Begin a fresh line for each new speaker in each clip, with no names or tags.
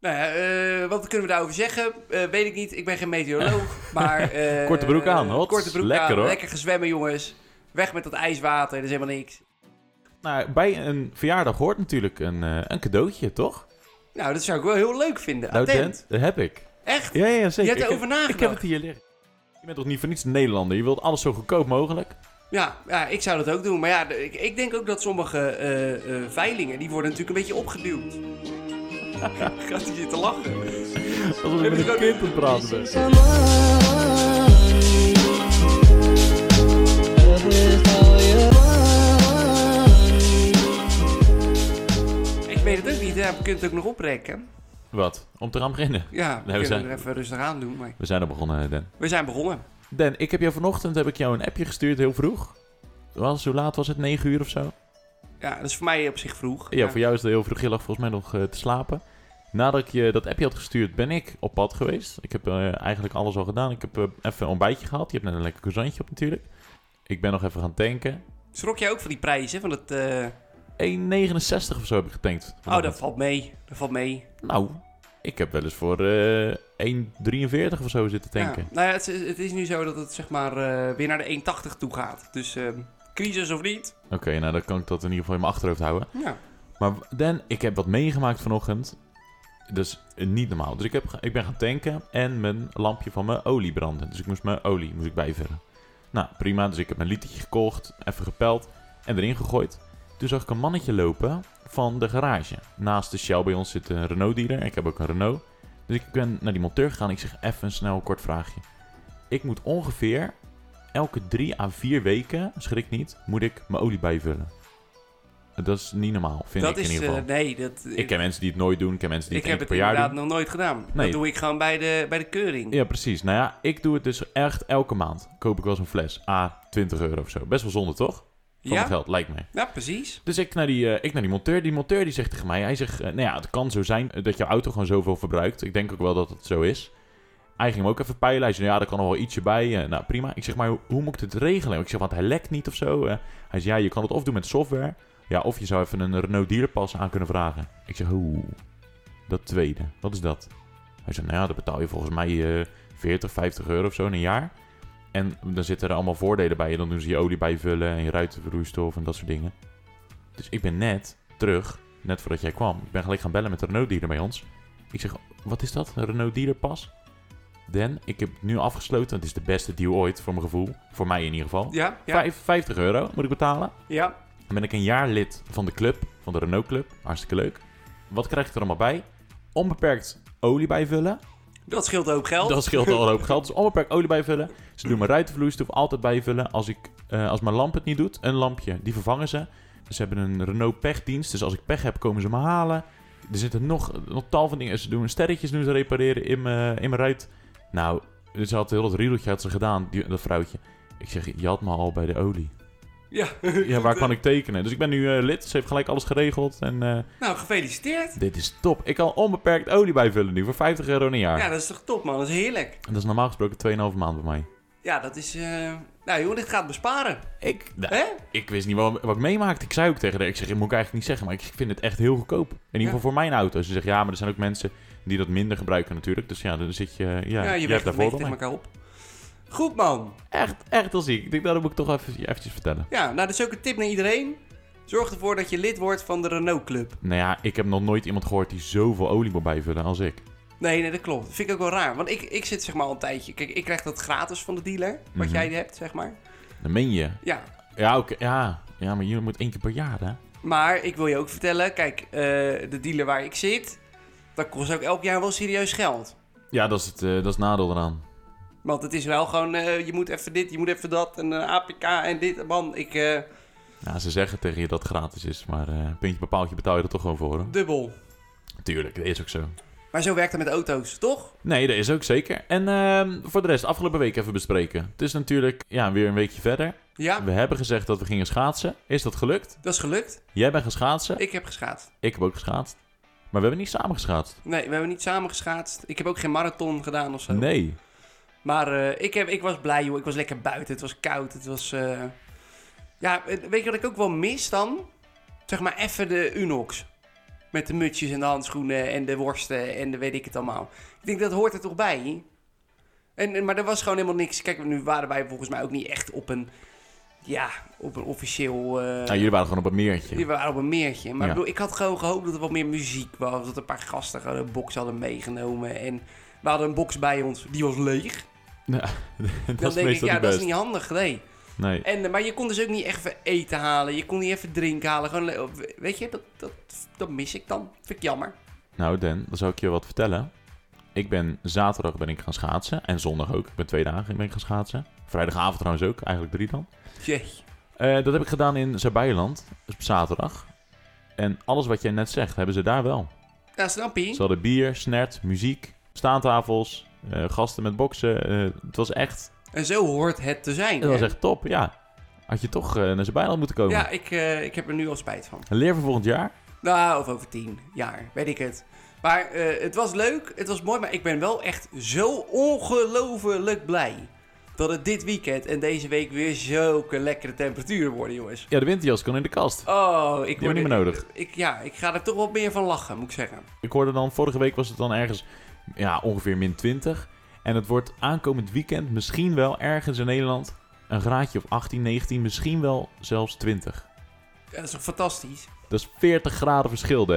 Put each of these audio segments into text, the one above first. Nou ja, eh, wat kunnen we daarover zeggen? Eh, weet ik niet. Ik ben geen meteoroloog. maar, eh,
Korte broek aan, hots.
Korte broek
Lekker,
aan.
hoor.
Lekker gezwemmen, jongens. Weg met dat ijswater. Dat is helemaal niks.
Nou, bij een verjaardag hoort natuurlijk een, eh, een cadeautje, toch?
Nou, dat zou ik wel heel leuk vinden.
Nou,
Attent.
Dent, dat heb ik.
Echt?
Ja, ja, zeker.
Je hebt
Ik heb-
erover nagedacht.
Ik heb het hier liggen. Je bent toch niet voor niets een Nederlander? Je wilt alles zo goedkoop mogelijk.
Ja, ja, ik zou dat ook doen. Maar ja, de- ik, ik denk ook dat sommige eh, eh, veilingen, die worden natuurlijk een beetje opgeduwd. Gaat hij zitten lachen?
Alsof ik met een kind aan het praten ben.
Someone Love is all you want.
Ik weet het ook niet, ja, we kunnen het ook nog oprekken.
Wat? Om te gaan beginnen.
Ja, we
we
kunnen
zijn-
er even rustig aan doen. Maar
We zijn al begonnen, Den.
we zijn begonnen.
Den, ik heb jou vanochtend heb ik jou een appje gestuurd, heel vroeg. Was, hoe laat was het? 9 uur of zo?
Ja, dat is voor mij op zich vroeg.
Ja, voor jou is het heel vroeg. Je lag volgens mij nog eh, te slapen. Nadat ik je dat appje had gestuurd, ben ik op pad geweest. Ik heb eh, eigenlijk alles al gedaan. Ik heb eh, even een ontbijtje gehad. Je hebt net een lekker croissantje op natuurlijk. Ik ben nog even gaan tanken. 1,69
Schrok jij ook van die prijzen? Van het, eh,
of zo heb ik getankt.
Oh, dat valt mee. Dat valt mee.
Nou, ik heb wel eens voor eh 1,43 of zo zitten tanken.
Ja. Nou ja, het, is- het is nu zo dat het zeg maar eh, weer naar de 1,80 toe gaat. Dus ehm, crisis of niet?
Oké, nou dan kan ik dat in ieder geval in mijn achterhoofd houden.
Ja.
Maar Dan, ik heb wat meegemaakt vanochtend. Dus eh, niet normaal. Dus ik, heb, ge- ik ben gaan tanken en mijn lampje van mijn olie brandde. Dus ik moest mijn olie moest ik bijvullen. Nou, prima. Dus ik heb mijn litertje gekocht, even gepeld en erin gegooid. Toen zag ik een mannetje lopen van de garage. Naast de Shell bij ons zit een Renault-dealer. Ik heb ook een Renault. Dus ik ben naar die monteur gegaan. Ik zeg even een snel kort vraagje. Ik moet ongeveer elke drie à vier weken, schrik niet, moet ik mijn olie bijvullen. Dat is niet normaal, vind
dat
ik
is...
in ieder geval.
eh, nee, dat...
Ik ken mensen die het nooit doen. Ik ken mensen die
Ik
het één
heb
keer
het
per jaar
inderdaad
doen.
nog nooit gedaan.
Nee.
Dat doe ik gewoon bij de, bij de keuring.
Ja, precies. Nou ja, ik doe het dus echt elke maand. Koop ik wel eens een fles. A, 20 euro of zo. Best wel zonde, toch? Van mijn
ja?
geld, lijkt mij.
Ja, precies.
Dus ik naar, die, eh, ik naar die monteur. Die monteur die zegt tegen mij... Hij zegt, eh, nou ja, het kan zo zijn dat jouw auto gewoon zoveel verbruikt. Ik denk ook wel dat het zo is. Hij ging hem ook even peilen. Hij zei, nou ja, daar kan nog wel ietsje bij. Eh, nou, prima. Ik zeg, maar hoe, hoe moet ik dit regelen? Ik zeg, want hij lekt niet of zo. Eh, hij zei, ja, je kan het of doen met software. Ja, of je zou even een Renault dealerpas aan kunnen vragen. Ik zeg, hoe? Dat tweede. Wat is dat? Hij zei, nou ja, dat betaal je volgens mij eh, 40, 50 euro of zo in een jaar. En dan zitten er allemaal voordelen bij. Dan doen ze je olie bijvullen en je ruitenvloeistof en dat soort dingen. Dus ik ben net terug, net voordat jij kwam. Ik ben gelijk gaan bellen met de Renault dealer bij ons. Ik zeg, wat is dat? Een Renault dealer pas? Dan, ik heb het nu afgesloten. Het is de beste deal ooit, voor mijn gevoel. Voor mij in ieder geval.
Ja, ja,
Vijf- 50 euro moet ik betalen.
ja.
Dan ben ik een jaar lid van de club, van de Renault Club. Hartstikke leuk. Wat krijg ik er allemaal bij? Onbeperkt olie bijvullen.
Dat scheelt ook geld.
Dat scheelt al een hoop geld. Dus onbeperkt olie bijvullen. Ze doen mijn ruitenvloeistof altijd bijvullen. Als, ik, eh, als mijn lamp het niet doet, een lampje, die vervangen ze. Dus Ze hebben een Renault pechdienst. Dus als ik pech heb, komen ze me halen. Er zitten nog, nog tal van dingen. Ze doen sterretjes doen ze repareren in mijn, in mijn ruit. Nou, ze had heel dat riedeltje had ze gedaan, die, dat vrouwtje. Ik zeg, je had me al bij de olie.
Ja.
Ja, waar kan ik tekenen? Dus ik ben nu eh, lid. Ze heeft gelijk alles geregeld. En eh,
Nou, gefeliciteerd.
dit is top. Ik kan onbeperkt olie bijvullen nu voor 50 euro een jaar.
Ja, dat is toch top, man. Dat is heerlijk.
Dat is normaal gesproken 2,5 maand bij mij.
Ja, dat is... eh, Nou, jongen, dit gaat besparen.
Ik, nou,
Hè?
ik wist niet wat, wat ik meemaakte. Ik zei ook tegen haar, ik zeg, dat moet ik eigenlijk niet zeggen, maar ik vind het echt heel goedkoop. In ieder geval
Ja.
voor mijn auto. Ze zegt, ja, maar er zijn ook mensen die dat minder gebruiken natuurlijk. Dus ja, dan zit je, ja,
Ja,
je
je weegt
hebt daar
het mee
voordeel
tegen
mee.
elkaar op. Goed, man.
Echt, echt als ik. Ik denk, nou, dat moet ik toch even, eventjes vertellen.
Ja, nou, dat is ook een tip naar iedereen. Zorg ervoor dat je lid wordt van de Renault Club.
Nou ja, ik heb nog nooit iemand gehoord die zoveel olie moet bijvullen als ik.
Nee, nee, dat klopt. Dat vind ik ook wel raar. Want ik, ik zit zeg maar al een tijdje... Kijk, ik krijg dat gratis van de dealer. Wat
Mhm.
jij hebt, zeg maar.
Dan meen je.
Ja,
Ja, oké, ja. Ja, maar jullie moet één keer per jaar, hè?
Maar ik wil je ook vertellen, kijk, eh, de dealer waar ik zit, dat kost ook elk jaar wel serieus geld.
Ja, dat is het, eh, dat is het nadeel eraan.
Want het is wel gewoon, eh, je moet even dit, je moet even dat, en eh, APK en dit. Man, ik, eh,
Ja, ze zeggen tegen je dat het gratis is, maar eh, puntje bepaaltje betaal je er toch gewoon voor, hoor.
dubbel.
Tuurlijk, dat is ook zo.
Maar zo werkt het met auto's, toch?
Nee, dat is ook zeker. En ehm, voor de rest, afgelopen week even bespreken. Het is natuurlijk ja, weer een weekje verder.
Ja,
We hebben gezegd dat we gingen schaatsen. Is dat gelukt?
dat is gelukt.
Jij bent gaan schaatsen.
Ik heb geschaatst.
Ik heb ook geschaatst. Maar we hebben niet samen geschaatst.
Nee, we hebben niet samen geschaatst. Ik heb ook geen marathon gedaan of zo.
Nee. Nou,
Maar eh, ik, heb, ik was blij, joh. Ik was lekker buiten. Het was koud. Het was... eh, Ja, eh, weet je wat ik ook wel mis dan? Zeg maar even de Unox. Met de mutsjes en de handschoenen en de worsten en de weet ik het allemaal. Ik denk, dat hoort er toch bij? En, en- maar er was gewoon helemaal niks. Kijk, nu waren wij volgens mij ook niet echt op een... Ja, op een officieel... eh,
Nou, jullie waren gewoon op een meertje.
die waren op een meertje. Maar ik,
Ja.
bedoel, ik had gewoon gehoopt dat er wat meer muziek was. Dat een paar gasten gewoon een box hadden meegenomen. En we hadden een box bij ons, die was leeg.
dat
Dan
is
denk ik,
meestal
ja,
niet
dat
best.
is niet handig, nee.
Nee.
En, eh, maar je kon dus ook niet echt even eten halen. Je kon niet even drinken halen. Gewoon, le- of, weet je, dat, dat, dat mis ik dan. Vind ik jammer.
Nou Dan, dan zou ik je wat vertellen. Ik ben zaterdag ben ik gaan schaatsen. En zondag ook. Ik ben twee dagen ben ik gaan schaatsen. Vrijdagavond trouwens ook. Eigenlijk drie dan.
Jee.
Eh, dat heb ik gedaan in Zerbijland. Dus op zaterdag. En alles wat jij net zegt, hebben ze daar wel.
Nou, snap je?
Ze hadden bier, snert, muziek, staantafels, eh, gasten met boksen. eh, het was echt,
En zo hoort het te zijn.
het was
hè?
echt top, ja. Had je toch eh, naar Zerbijland moeten komen.
Ja, ik, eh, ik heb er nu al spijt van.
Leer voor volgend jaar.
Nou, of over tien jaar, weet ik het. Maar eh, het was leuk, het was mooi, maar ik ben wel echt zo ongelooflijk blij dat het dit weekend en deze week weer zulke lekkere temperaturen worden, jongens.
Ja, de winterjas kan in de kast.
Oh, ik
Die hebben we niet meer nodig.
Ik, ja, ik ga er toch wat meer van lachen, moet ik zeggen.
Ik hoorde dan, vorige week was het dan ergens ja, ongeveer min 20. En het wordt aankomend weekend misschien wel ergens in Nederland een graadje of 18, 19, misschien wel zelfs 20.
Ja, dat is toch fantastisch?
Dat is 40 graden verschil, Dan.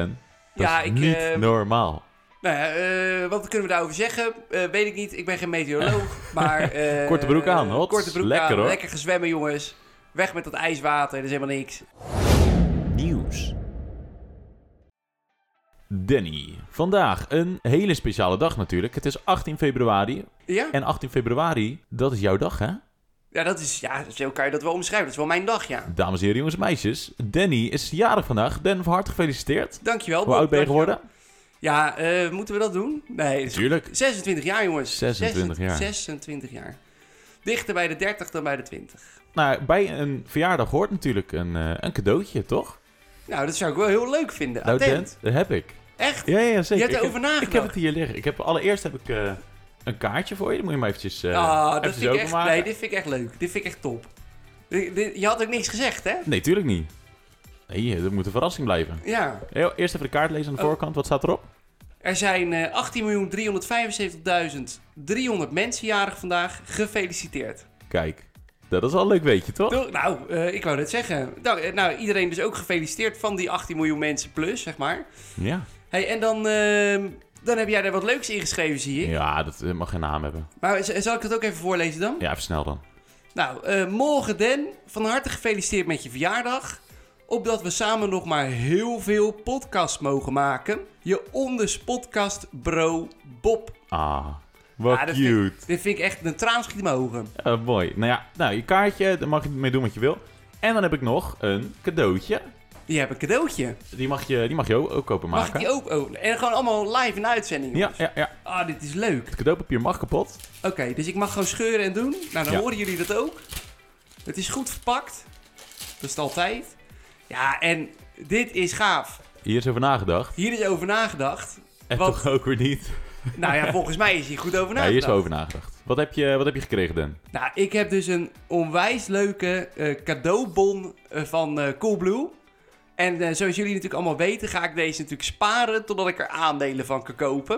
Dat
ja,
is
ik.
niet
eh,
normaal.
nou ja, eh, wat kunnen we daarover zeggen? Eh, weet ik niet, ik ben geen meteoroloog, maar... eh,
Korte broek aan, hots.
Korte broek
Lekker,
aan,
hoor.
lekker gezwemmen, jongens. Weg met dat ijswater, dat is helemaal niks.
Nieuws. Danny, vandaag een hele speciale dag natuurlijk. Het is 18 februari.
Ja?
En 18 februari, dat is jouw dag, hè?
Ja, dat is, ja, zo kan je dat wel omschrijven. Dat is wel mijn dag, ja.
Dames en heren, jongens en meisjes. Danny is jarig vandaag. Dan, van harte gefeliciteerd.
Dankjewel.
Hoe
Bob.
oud ben je
Oh, Dankjewel.
geworden?
Ja, eh, moeten we dat doen? Nee, dat is-
Natuurlijk.
26 jaar, jongens.
26 jaar.
26 jaar. Dichter bij de 30 dan bij de 20.
Nou, bij een verjaardag hoort natuurlijk een, eh, een cadeautje, toch?
Nou, dat zou ik wel heel leuk vinden.
Nou,
Attent.
Dan, dat heb ik.
Echt?
Ja, ja, zeker.
Je hebt
ik,
erover
heb,
nagedacht.
ik heb het hier liggen. Ik heb, allereerst heb ik eh, een kaartje voor je. Dat moet je maar eventjes, eh
Ah, dat
eventjes
vind ik echt,
openmaken.
nee, dit vind ik echt leuk. Dit vind ik echt top. Dit- dit- je had ook niks gezegd, hè?
Nee, tuurlijk niet. Nee, eh, dat moet een verrassing blijven.
Ja.
Heel, eerst even de kaart lezen aan de
Oh.
voorkant. Wat staat erop?
Er zijn eh 18.375.300 mensen jarig vandaag. Gefeliciteerd.
Kijk, dat is al een leuk weet je, toch?
Toch? Nou, eh, ik wou net zeggen. Nou, eh, nou, iedereen dus ook gefeliciteerd van die 18 miljoen mensen plus, zeg maar.
Ja.
Hey, en dan, ehm, dan heb jij daar wat leuks in geschreven, zie ik.
Ja, dat eh, mag geen naam hebben.
Maar z- zal ik dat ook even voorlezen dan?
Ja, even snel dan.
Nou, eh, morgen Den, van harte gefeliciteerd met je verjaardag. Opdat we samen nog maar heel veel podcasts mogen maken. Je onders podcast bro Bob.
Ah, wat
Ah, dat vind ik-
cute.
Dit vind ik echt een traan schiet in mijn ogen.
Eh, mooi. Nou ja, nou, je kaartje, daar mag je mee doen wat je wil. En dan heb ik nog een cadeautje.
Je hebt een cadeautje.
Die mag je, die mag je ook, ook openmaken.
Mag ik die ook openen? En gewoon allemaal live in uitzending.
Ja, ja, ja.
Ah, dit is leuk.
Het cadeaupapier mag kapot.
Oké, dus ik mag gewoon scheuren en doen. Nou, dan
Ja.
horen jullie dat ook. Het is goed verpakt. Dat is het altijd. Ja, en dit is gaaf.
Hier is over nagedacht.
Hier is over nagedacht.
En
Wat?
toch ook weer niet.
Nou ja, volgens mij is hier goed over
Ja, hier is
nagedacht.
wel over nagedacht. Wat heb je, wat heb je gekregen, Dan?
Nou, ik heb dus een onwijs leuke eh, cadeaubon eh, van eh, Coolblue. En eh, zoals jullie natuurlijk allemaal weten, ga ik deze natuurlijk sparen totdat ik er aandelen van kan kopen.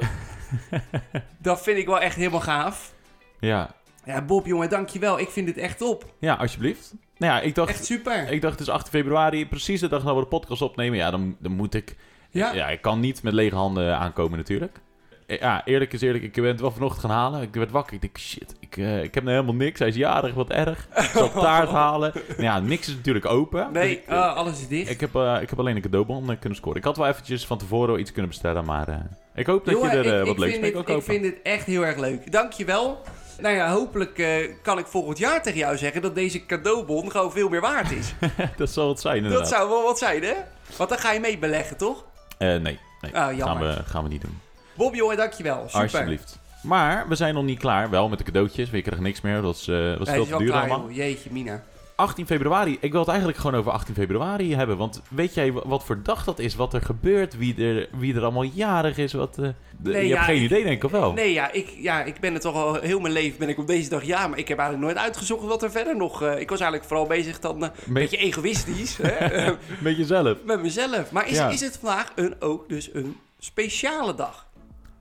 dat vind ik wel echt helemaal gaaf.
Ja.
Ja, Bob, jongen, dankjewel. Ik vind dit echt top.
ja, alsjeblieft. Nou ja, ik dacht,
Echt super.
ik dacht dus 8 februari, precies de dag dat we de podcast opnemen. Ja, dan, dan moet ik...
Ja.
Ja. ik kan niet met lege handen aankomen natuurlijk. Eh, Ja, eerlijk is eerlijk, ik ben het wel vanochtend gaan halen. Ik werd wakker, ik denk shit, ik, eh, ik heb nou helemaal niks. Hij is jarig, wat erg. Ik zal taart halen. Nou ja, niks is natuurlijk open. Dus
Nee,
ik,
ah, alles is dicht.
Ik heb, eh, ik heb alleen een cadeaubon eh, kunnen scoren. Ik had wel eventjes van tevoren wel iets kunnen bestellen, maar eh, ik hoop dat je
Jongen,
er eh,
ik,
wat
ik
leuks
vind
mee
dit-
kan kopen.
Ik vind dit echt heel erg leuk. Dankjewel. Nou ja, hopelijk eh, kan ik volgend jaar tegen jou zeggen dat deze cadeaubon gewoon veel meer waard is.
dat zal het zijn inderdaad.
dat zou wel wat zijn, hè? Want dan ga je mee beleggen, toch?
Eh, nee, nee.
Ah,
gaan,
jammer.
we, gaan we niet doen.
Bob, jongen, dankjewel. Super.
Alsjeblieft. Maar we zijn nog niet klaar, wel met de cadeautjes. We krijgen niks meer, dat is, eh, dat is
Nee, het
veel
is
te
wel
duur
klaar,
allemaal.
joh. Jeetje, Mina.
18 februari. Ik wil het eigenlijk gewoon over 18 februari hebben. Want weet jij wa- wat voor dag dat is? Wat er gebeurt? Wie er, wie er allemaal jarig is? Wat, eh, de-
Nee,
je
ja,
hebt geen
ik-
idee, denk ik, of wel?
Nee, ja ik, ja, ik ben het toch al heel mijn leven ben ik op deze dag ja, maar ik heb eigenlijk nooit uitgezocht wat er verder nog. eh, ik was eigenlijk vooral bezig dan eh, een
Met-
beetje egoïstisch hè, eh,
Met jezelf.
met mezelf. Maar is,
Ja.
is het vandaag een, ook dus een speciale dag?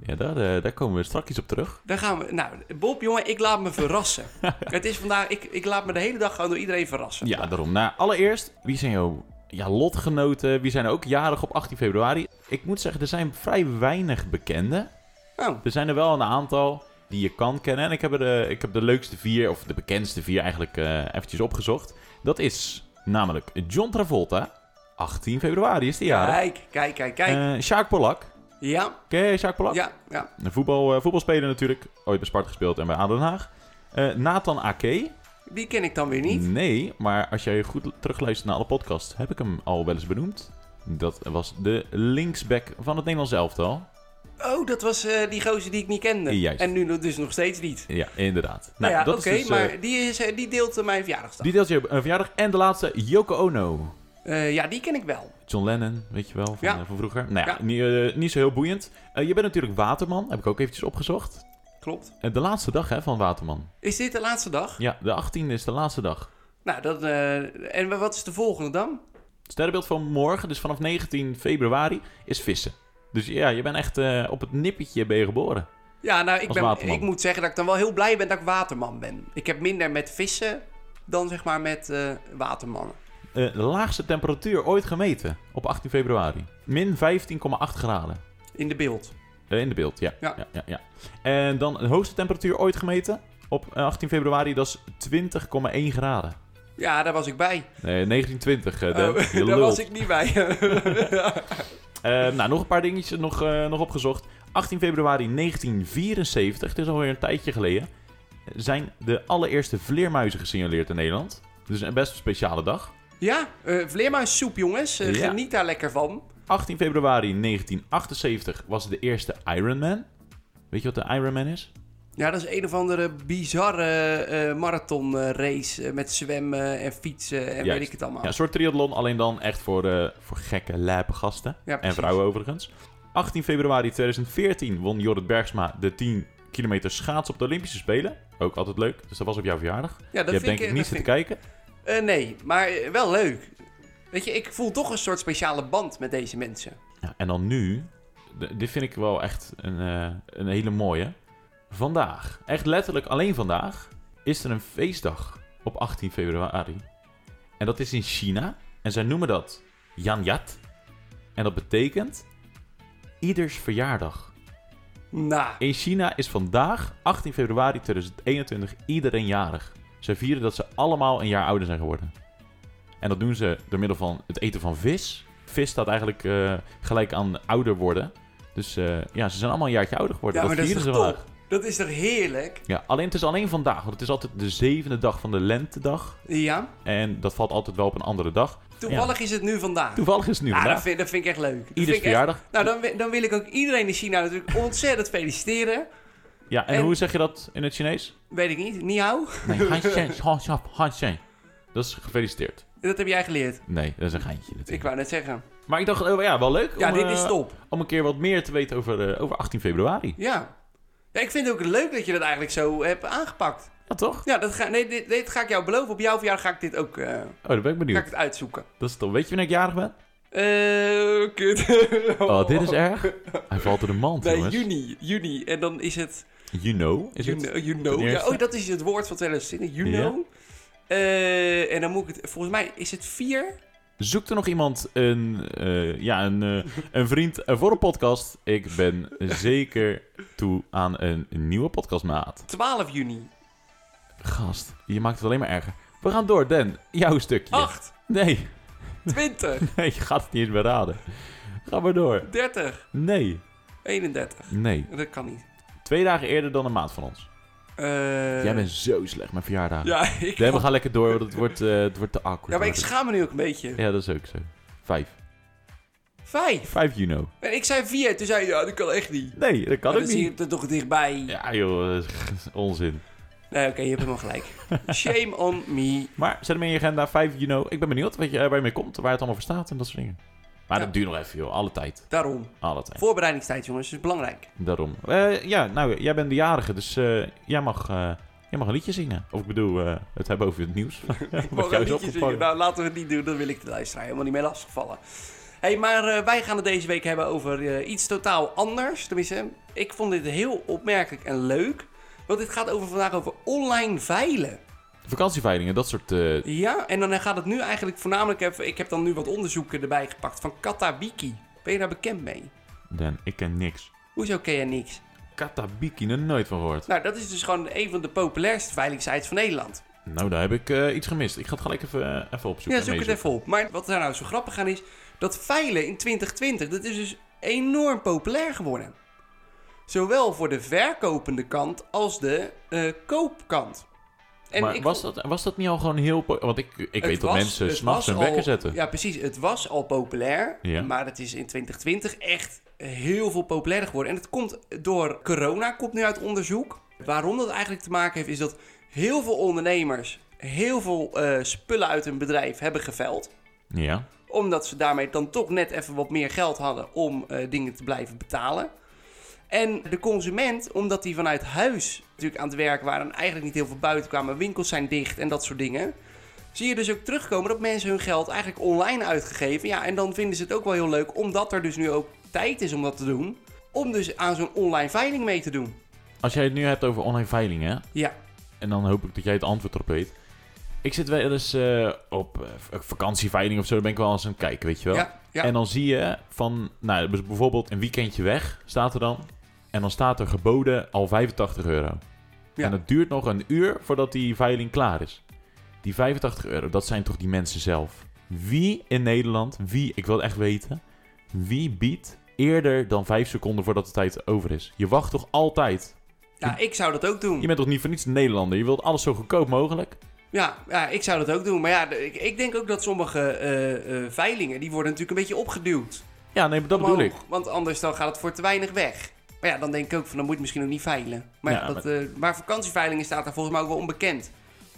Ja, daar, eh, daar komen we straks iets op terug.
Daar gaan we. Nou, Bob, jongen, ik laat me verrassen. het is vandaag, ik, ik laat me de hele dag gewoon door iedereen verrassen.
Ja, daarom. Nou, allereerst, wie zijn jouw ja, lotgenoten? Wie zijn er ook jarig op 18 februari? Ik moet zeggen, er zijn vrij weinig bekenden.
Oh,
Er zijn er wel een aantal die je kan kennen. En ik heb, er, eh, ik heb de leukste vier, of de bekendste vier eigenlijk, eh, eventjes opgezocht. Dat is namelijk John Travolta. 18 februari is die jarig.
kijk, kijk, kijk, kijk.
Eh Sjaak Polak.
ja,
Ken je Sjaak Polak?
ja, ja.
Een voetbal, eh, voetbalspeler natuurlijk. Ooit bij Sparta gespeeld en bij ADO Den Haag. Eh, Nathan Ake.
Die ken ik dan weer niet.
Nee, maar als jij goed terugluistert naar alle podcasts, heb ik hem al wel eens benoemd. Dat was de linksback van het Nederlands elftal.
Oh, dat was eh, die gozer die ik niet kende.
Juist.
En nu nog- dus nog steeds niet.
Ja, inderdaad.
Nou, ja,
dat
oké,
is dus, eh,
maar die, is, eh, die deelt eh, mijn verjaardagsdag.
Die deelt je een verjaardag. En de laatste, Yoko Ono.
Eh, ja, die ken ik wel.
John Lennon, weet je wel, van,
Ja.
eh, van vroeger. Nou ja,
Ja.
Niet, eh, niet zo heel boeiend. Eh, je bent natuurlijk Waterman, heb ik ook eventjes opgezocht.
Klopt.
Eh, de laatste dag hè, van Waterman.
Is dit de laatste dag?
Ja, de 18e is de laatste dag.
Nou, dat, eh, en wat is de volgende dan?
Sterrenbeeld van morgen, dus vanaf 19 februari, is vissen. Dus ja, je bent echt eh, op het nippertje ben je geboren.
Ja, nou, ik,
Als
ben,
waterman.
ik moet zeggen dat ik dan wel heel blij ben dat ik waterman ben. Ik heb minder met vissen dan zeg maar met eh, watermannen.
Eh, de laagste temperatuur ooit gemeten op 18 februari. Min 15,8 graden.
In de beeld.
Eh, in de beeld, ja.
Ja.
Ja. Ja, ja, En dan de hoogste temperatuur ooit gemeten op eh, 18 februari, dat is 20,1 graden.
Ja, daar was ik bij.
Nee, 1920. eh, de,
Oh,
je
daar
lul.
was ik niet bij.
Eh, nou, nog een paar dingetjes nog, eh, nog opgezocht. 18 februari 1974, het is alweer een tijdje geleden, zijn de allereerste vleermuizen gesignaleerd in Nederland. Dus een best speciale dag.
ja, eh vleermuissoep, jongens. Eh,
Ja.
Geniet daar lekker van.
18 februari 1978 was de eerste Ironman. Weet je wat de Ironman is?
Ja, dat is een of andere bizarre eh, marathonrace eh, met zwemmen en fietsen en
Juist.
weet ik het allemaal.
Ja, een soort triathlon, alleen dan echt voor, eh, voor gekke, lijpe gasten.
Ja,
en
precies.
vrouwen overigens. 18 februari 2014 won Jorrit Bergsma de 10 kilometer schaats op de Olympische Spelen. Ook altijd leuk, dus dat was op jouw verjaardag.
Ja, dat
je hebt
vind
denk ik
dat
niet
vind
zitten kijken.
Eh, nee, maar eh, wel leuk. Weet je, ik voel toch een soort speciale band met deze mensen.
Ja, en dan nu, d- dit vind ik wel echt een, eh, een hele mooie. Vandaag, echt letterlijk alleen vandaag, is er een feestdag op 18 februari. En dat is in China. En zij noemen dat Yat. En dat betekent ieders verjaardag.
Nou,
In China is vandaag, 18 februari 2021, iedereen jarig. Ze vieren dat ze allemaal een jaar ouder zijn geworden. En dat doen ze door middel van het eten van vis. Vis staat eigenlijk eh, gelijk aan ouder worden. Dus eh, ja, ze zijn allemaal een jaartje ouder geworden.
Ja,
dat
maar dat
vieren
is
ze
toch
vandaag.
dat is toch heerlijk?
Ja, alleen het is alleen vandaag, want het is altijd de zevende dag van de lentedag.
Ja.
En dat valt altijd wel op een andere dag.
Toevallig is het nu vandaag.
Toevallig is het nu
Ah, dat,
vandaag.
vind, dat vind ik echt leuk. Dat
Ieders
vind ik echt-
verjaardag.
Nou, dan, wi- dan wil ik ook iedereen in China natuurlijk ontzettend feliciteren.
Ja, en,
en-
hoe zeg je dat in het Chinees?
Weet ik niet. Ni hao.
Nee, Han Shen, Han Shan, Han Shen. Dat is gefeliciteerd.
Dat heb jij geleerd.
Nee, dat is een geintje natuurlijk.
Ik wou net zeggen.
Maar ik dacht, oh, ja, wel leuk.
Ja,
om,
dit is
eh,
top.
om een keer wat meer te weten over, eh, over 18 februari.
Ja. ja. Ik vind het ook leuk dat je dat eigenlijk zo hebt aangepakt.
Ja, toch?
Ja, dat ga, nee, dit, dit ga ik jou beloven. Op jouw verjaardag ga ik dit ook eh,
Oh, daar ben ik
ga
benieuwd.
ik het uitzoeken.
Dat is toch. Weet je wanneer ik jarig ben?
Eh, kut.
Oh, dit is erg. Hij valt door de mand,
Nee,
jongens.
juni. Juni. En dan is het...
You know, is
You
het?
know. you know.
Ten
Ja,
eerste.
oh, dat is het woord van 2020. You
Ja.
know. Eh, en dan moet ik het... Volgens mij is het vier.
Zoekt er nog iemand een, eh, ja, een, eh, een vriend eh, voor een podcast? Ik ben zeker toe aan een nieuwe podcastmaat.
12 juni.
Gast, je maakt het alleen maar erger. We gaan door, Dan. Jouw stukje.
8,
Nee,
20,
nee, je gaat het niet eens meer raden. Ga maar door.
30,
Nee,
31.
nee.
Dat kan niet.
Twee dagen eerder dan een maat van ons.
Eh,
Jij bent zo slecht met verjaardagen.
Ja, ik...
Nee, we gaan lekker door, want het wordt, eh, het wordt te awkward.
ja, maar ik schaam me nu ook een beetje.
Ja, dat is ook zo. Vijf.
Vijf.
Vijf, you know.
En ik zei vier. Toen zei je, ja, dat kan echt niet.
Nee, dat kan
Maar
ook
dan zie je
niet.
het er toch dichtbij.
Ja joh, dat is onzin.
Nee, oké, je hebt helemaal gelijk. Shame on me.
Maar zet hem in je agenda, 5 you know. Ik ben benieuwd wat je, eh, waar je mee komt, waar het allemaal voor staat en dat soort dingen. Maar
Ja.
dat duurt nog even, joh. Alle tijd.
Daarom.
Alle tijd.
Voorbereidingstijd, jongens, is belangrijk.
Daarom. Eh, ja, nou, jij bent de jarige, dus eh, jij, mag, eh, jij mag een liedje zingen. Of ik bedoel, eh, het hebben over het nieuws.
Ik
Wat
mag
jou
een
is
liedje
opgevallen.
zingen. Nou, laten we het niet doen. Dan wil ik de luisteraar helemaal niet mee lastigvallen. hey, maar eh, wij gaan het deze week hebben over eh, iets totaal anders. Tenminste, ik vond dit heel opmerkelijk en leuk. Want dit gaat over vandaag over online veilen.
Vakantieveilingen, dat soort... eh,
Ja, en dan gaat het nu eigenlijk voornamelijk even... Ik heb dan nu wat onderzoeken erbij gepakt van Katawiki. Ben je daar bekend mee?
Dan, ik ken niks.
Hoezo ken je niks?
Katabiki, nog nooit van gehoord.
Nou, dat is dus gewoon een van de populairste veilingsites van Nederland.
Nou, daar heb ik eh, iets gemist. Ik ga het gelijk even, eh, even opzoeken.
Ja, zoek het even op. Maar wat daar nou zo grappig aan is, dat veilen in 2020, dat is dus enorm populair geworden. Zowel voor de verkopende kant als de eh, koopkant. En
maar
ik
was,
vond-
dat, was dat niet al gewoon heel... po- Want ik, ik
het
weet dat
was-
mensen
het
s'nachts
was
hun
al-
wekker zetten.
Ja, precies. Het was al populair,
Ja.
maar het is in 2020 echt heel veel populairder geworden. En het komt door corona, komt nu uit onderzoek. Waarom dat eigenlijk te maken heeft, is dat heel veel ondernemers heel veel eh, spullen uit hun bedrijf hebben geveld
Ja.
omdat ze daarmee dan toch net even wat meer geld hadden om eh, dingen te blijven betalen. En de consument, omdat die vanuit huis natuurlijk aan het werk waren en eigenlijk niet heel veel buiten kwamen, winkels zijn dicht en dat soort dingen. Zie je dus ook terugkomen dat mensen hun geld eigenlijk online uitgegeven. Ja, en dan vinden ze het ook wel heel leuk, omdat er dus nu ook tijd is om dat te doen. Om dus aan zo'n online veiling mee te doen.
Als jij het nu hebt over online veilingen, hè,
Ja,
en dan hoop ik dat jij het antwoord erop weet. Ik zit wel eens eh, op eh, v- vakantieveiling of zo, dan ben ik wel eens aan het kijken, weet je wel.
ja, ja.
En dan zie je van, nou, dus bijvoorbeeld een weekendje weg, staat er dan. En dan staat er geboden al 85 euro.
Ja.
En het duurt nog een uur voordat die veiling klaar is. Die 85 euro, dat zijn toch die mensen zelf? Wie in Nederland, wie, ik wil het echt weten, wie biedt eerder dan 5 seconden voordat de tijd over is? Je wacht toch altijd?
ja, ik zou dat ook doen.
Je bent toch niet voor niets een Nederlander? Je wilt alles zo goedkoop mogelijk?
Ja, ja, ik zou dat ook doen. Maar ja, de- ik, ik denk ook dat sommige eh, eh, veilingen, die worden natuurlijk een beetje opgeduwd.
Ja, nee, maar dat bedoel ik.
Omhoog, Want anders dan gaat het voor te weinig weg. Maar ja, dan denk ik ook van, dan moet je misschien ook niet veilen. Maar, ja,
Ja,
dat, eh, maar vakantieveilingen staat daar volgens mij ook wel onbekend.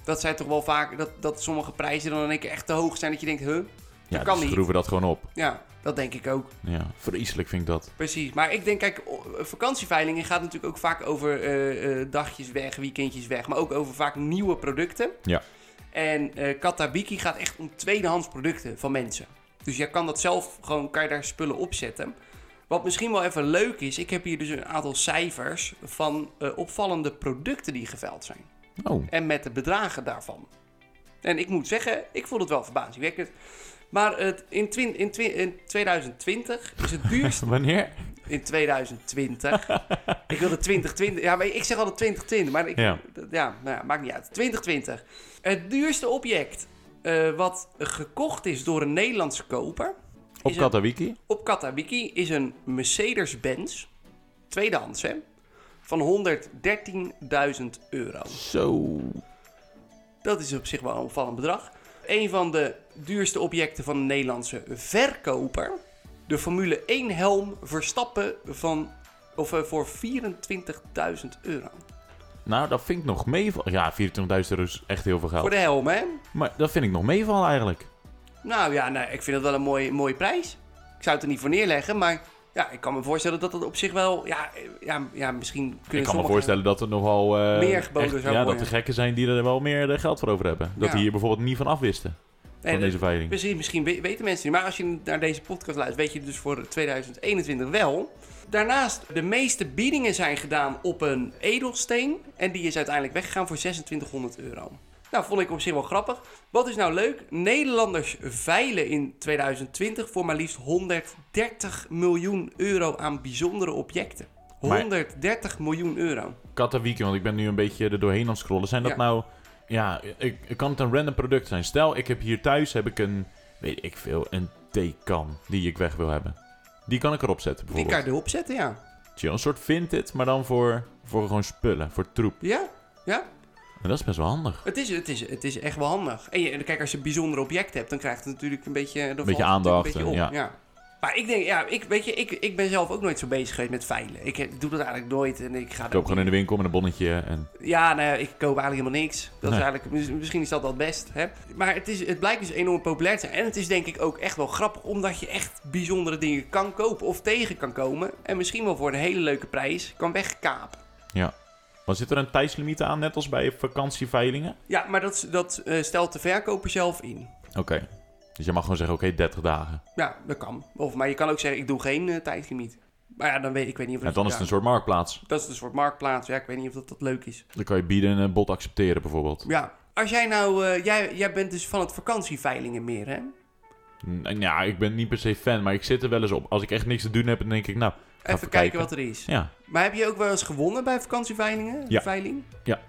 Dat zijn toch wel vaak, dat, dat sommige prijzen dan in één keer echt te hoog zijn. Dat je denkt, huh?
Ja,
kan
dan
niet.
schroeven we dat gewoon op.
Ja, dat denk ik ook.
Ja, vreselijk vind ik dat.
Precies. Maar ik denk, kijk, o- vakantieveilingen gaat natuurlijk ook vaak over eh, eh, dagjes weg, weekendjes weg. Maar ook over vaak nieuwe producten.
Ja.
En eh Katabiki gaat echt om tweedehands producten van mensen. Dus jij kan dat zelf gewoon, kan je daar spullen opzetten. Wat misschien wel even leuk is, ik heb hier dus een aantal cijfers van eh, opvallende producten die geveild zijn.
Oh,
En met de bedragen daarvan. En ik moet zeggen, ik vond het wel verbazingwekkend. Maar het, in, twin- in, twin- in 2020 is het duurste
wanneer?
in 2020. ik wilde 2020. Ja, maar ik zeg altijd 2020, maar ik,
Ja.
ja. nou ja, maakt niet uit. 2020. Het duurste object eh, wat gekocht is door een Nederlandse koper
Op
Is het-
Katawiki?
op Katawiki is een Mercedes-Benz, tweedehands hè, van 113.000 euro.
Zo.
Dat is op zich wel een opvallend bedrag. Een van de duurste objecten van een Nederlandse verkoper. De Formule 1 helm Verstappen van, of, eh, voor 24.000 euro.
Nou, dat vind ik nog meeval. Ja, 24.000 euro is echt heel veel
Voor
geld.
de helm, hè?
Maar dat vind ik nog meeval eigenlijk.
Nou ja, nee, ik vind dat wel een mooie, mooie prijs. Ik zou het er niet voor neerleggen, maar ja, ik kan me voorstellen dat dat op zich wel... Ja, eh, ja, ja misschien kunnen
ik kan me
sommigen-
voorstellen dat er nogal... eh,
Meer geboden
echt-
zou
Ja, dat
worden.
er gekken zijn die er wel meer eh, geld voor over hebben. Dat
Ja.
die hier bijvoorbeeld niet van afwisten.
Nee,
van
dat- dus-
deze veiling.
Precies, misschien we- weten mensen niet. Maar als je naar deze podcast luistert, weet je het dus voor 2021 wel. Daarnaast, de meeste biedingen zijn gedaan op een edelsteen. En die is uiteindelijk weggegaan voor 2600 euro. Nou, vond ik op zich wel grappig. Wat is nou leuk? Nederlanders veilen in 2020 voor maar liefst 130 miljoen euro aan bijzondere objecten.
Maar-
130 miljoen euro.
Katawiki, want ik ben nu een beetje er doorheen aan het scrollen. Zijn dat
Ja.
nou... Ja, ik, ik- kan het een random product zijn? Stel, ik heb hier thuis heb ik een... Weet ik veel, een theekan die ik weg wil hebben. Die kan ik erop zetten
Die kan
bijvoorbeeld.
je erop zetten, ja.
Chill, een soort vintage, maar dan voor, voor gewoon spullen, voor troep.
Ja, ja.
En dat is best wel handig.
Het is, het, is, het is echt wel handig. En je, kijk, als je een bijzonder object hebt, dan krijgt het natuurlijk een beetje... dan
Beetje
valt het natuurlijk
aandacht en
Een beetje op. Ja. Maar ik denk, ja, ik, weet je, ik, ik ben zelf ook nooit zo bezig geweest met veilen. Ik eh, doe dat eigenlijk nooit en ik ga
Ik
daar
koop
ook
gewoon in de winkel met een bonnetje. En...
Ja, nou, ja, ik koop eigenlijk helemaal niks. Dat is
Nee.
eigenlijk, mis- misschien is dat wel het best. Hè? Maar het, is, het blijkt dus enorm populair te zijn. En het is denk ik ook echt wel grappig, omdat je echt bijzondere dingen kan kopen of tegen kan komen. En misschien wel voor een hele leuke prijs kan wegkapen.
Maar zit er een tijdslimiet aan, net als bij vakantieveilingen?
Ja, maar dat, is- dat eh, stelt de verkoper zelf in.
Oké. Dus je mag gewoon zeggen, oké, 30 dagen.
Ja, dat kan. Of, maar je kan ook zeggen, ik doe geen eh, tijdslimiet. Maar ja, dan weet ik weet niet of
En
dat...
dan is het
ja,
een soort marktplaats.
Dat is een soort marktplaats. Ja, ik weet niet of dat, dat leuk is.
Dan kan je bieden en een bod accepteren bijvoorbeeld.
Ja, als jij nou... eh, jij, jij bent dus van het vakantieveilingen meer, hè?
N- Ja, ik ben niet per se fan, maar ik zit er wel eens op. Als ik echt niks te doen heb, dan denk ik, nou,
Even,
even
kijken
kijken.
wat er is.
ja.
Maar heb je ook wel eens gewonnen bij vakantieveilingen?
Ja.
Veiling?
Ja.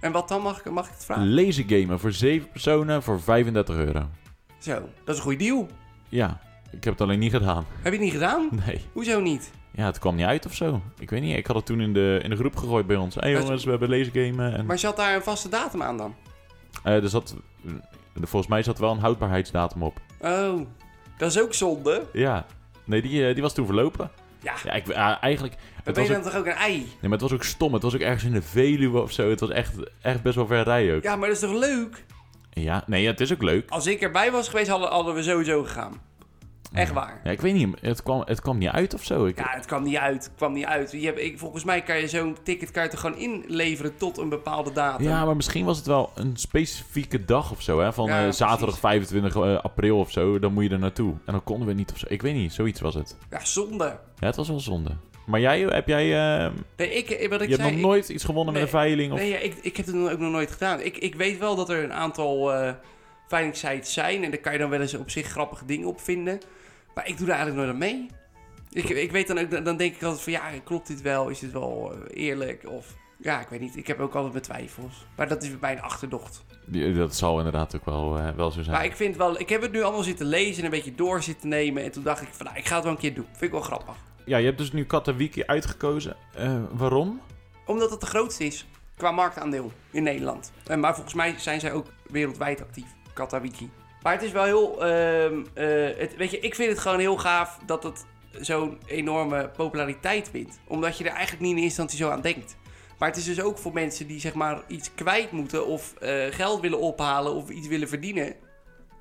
En wat dan? Mag ik, mag ik het vragen?
Laser gamen voor 7 personen voor 35 euro.
Zo, dat is een goede deal.
Ja, ik heb het alleen niet gedaan.
Heb je het niet gedaan?
Nee.
Hoezo niet?
Ja, het kwam niet uit of zo. Ik weet niet, ik had het toen in de, in de groep gegooid bij ons. Hé hey,
Het-
jongens, we hebben laser gamen. En,
Maar zat daar een vaste datum aan dan?
Eh, er zat, volgens mij zat wel een houdbaarheidsdatum op.
Oh, dat is ook zonde.
Ja. Nee, die, eh, die was toen verlopen.
Ja,
Ja, ik, ah, eigenlijk...
dan
Het
ben
was,
je
ook,
dan toch ook een ei?
nee, maar het was ook stom. Het was ook ergens in de Veluwe of zo. Het was echt, echt best wel ver rijden ook. Ja.
Ja, maar dat is toch leuk?
nee, ja, het is ook leuk.
Als ik erbij was geweest, hadden, hadden we sowieso gegaan. Echt waar.
Ja, ik weet niet, het kwam, het kwam niet uit of zo. Ik,
Ja, het kwam niet uit. Het kwam niet uit. Je hebt, ik, volgens mij kan je zo'n ticketkaart er gewoon inleveren tot een bepaalde datum.
Ja, maar misschien was het wel een specifieke dag of zo. Hè? Van
Ja,
eh,
precies.
zaterdag 25 april of zo. Dan moet je er naartoe. En dan konden we niet of zo. Ik weet niet, zoiets was het.
Ja, zonde.
Ja, het was wel zonde. Maar jij, heb jij... eh,
Nee, ik, wat ik
je hebt
zei,
nog
ik-
nooit iets gewonnen
Nee,
met een veiling? Of...
Nee, ja, ik, ik heb het ook nog nooit gedaan. Ik, ik weet wel dat er een aantal eh veilingsites zijn. En daar kan je dan wel eens op zich grappige dingen op vinden. Maar ik doe daar eigenlijk nooit aan mee. Ik, ik weet dan ook, dan- dan denk ik altijd van ja, klopt dit wel? Is dit wel eh, eerlijk? Of ja, ik weet niet. Ik heb ook altijd mijn twijfels. Maar dat is bij mijn achterdocht.
Ja, Dat zal inderdaad ook wel, eh, wel zo zijn.
Maar ik vind wel, ik heb het nu allemaal zitten lezen en een beetje door zitten nemen. En toen dacht ik van nou, ik ga het wel een keer doen. Vind ik wel grappig.
Ja, je hebt dus nu Katawiki uitgekozen. Eh, waarom?
Omdat het de grootste is qua marktaandeel in Nederland. Eh, maar volgens mij zijn zij ook wereldwijd actief, Katawiki. Maar het is wel heel... ehm, eh, het, weet je, ik vind het gewoon heel gaaf dat het zo'n enorme populariteit wint. Omdat je er eigenlijk niet in eerste instantie zo aan denkt. Maar het is dus ook voor mensen die zeg maar iets kwijt moeten... of eh, geld willen ophalen of iets willen verdienen...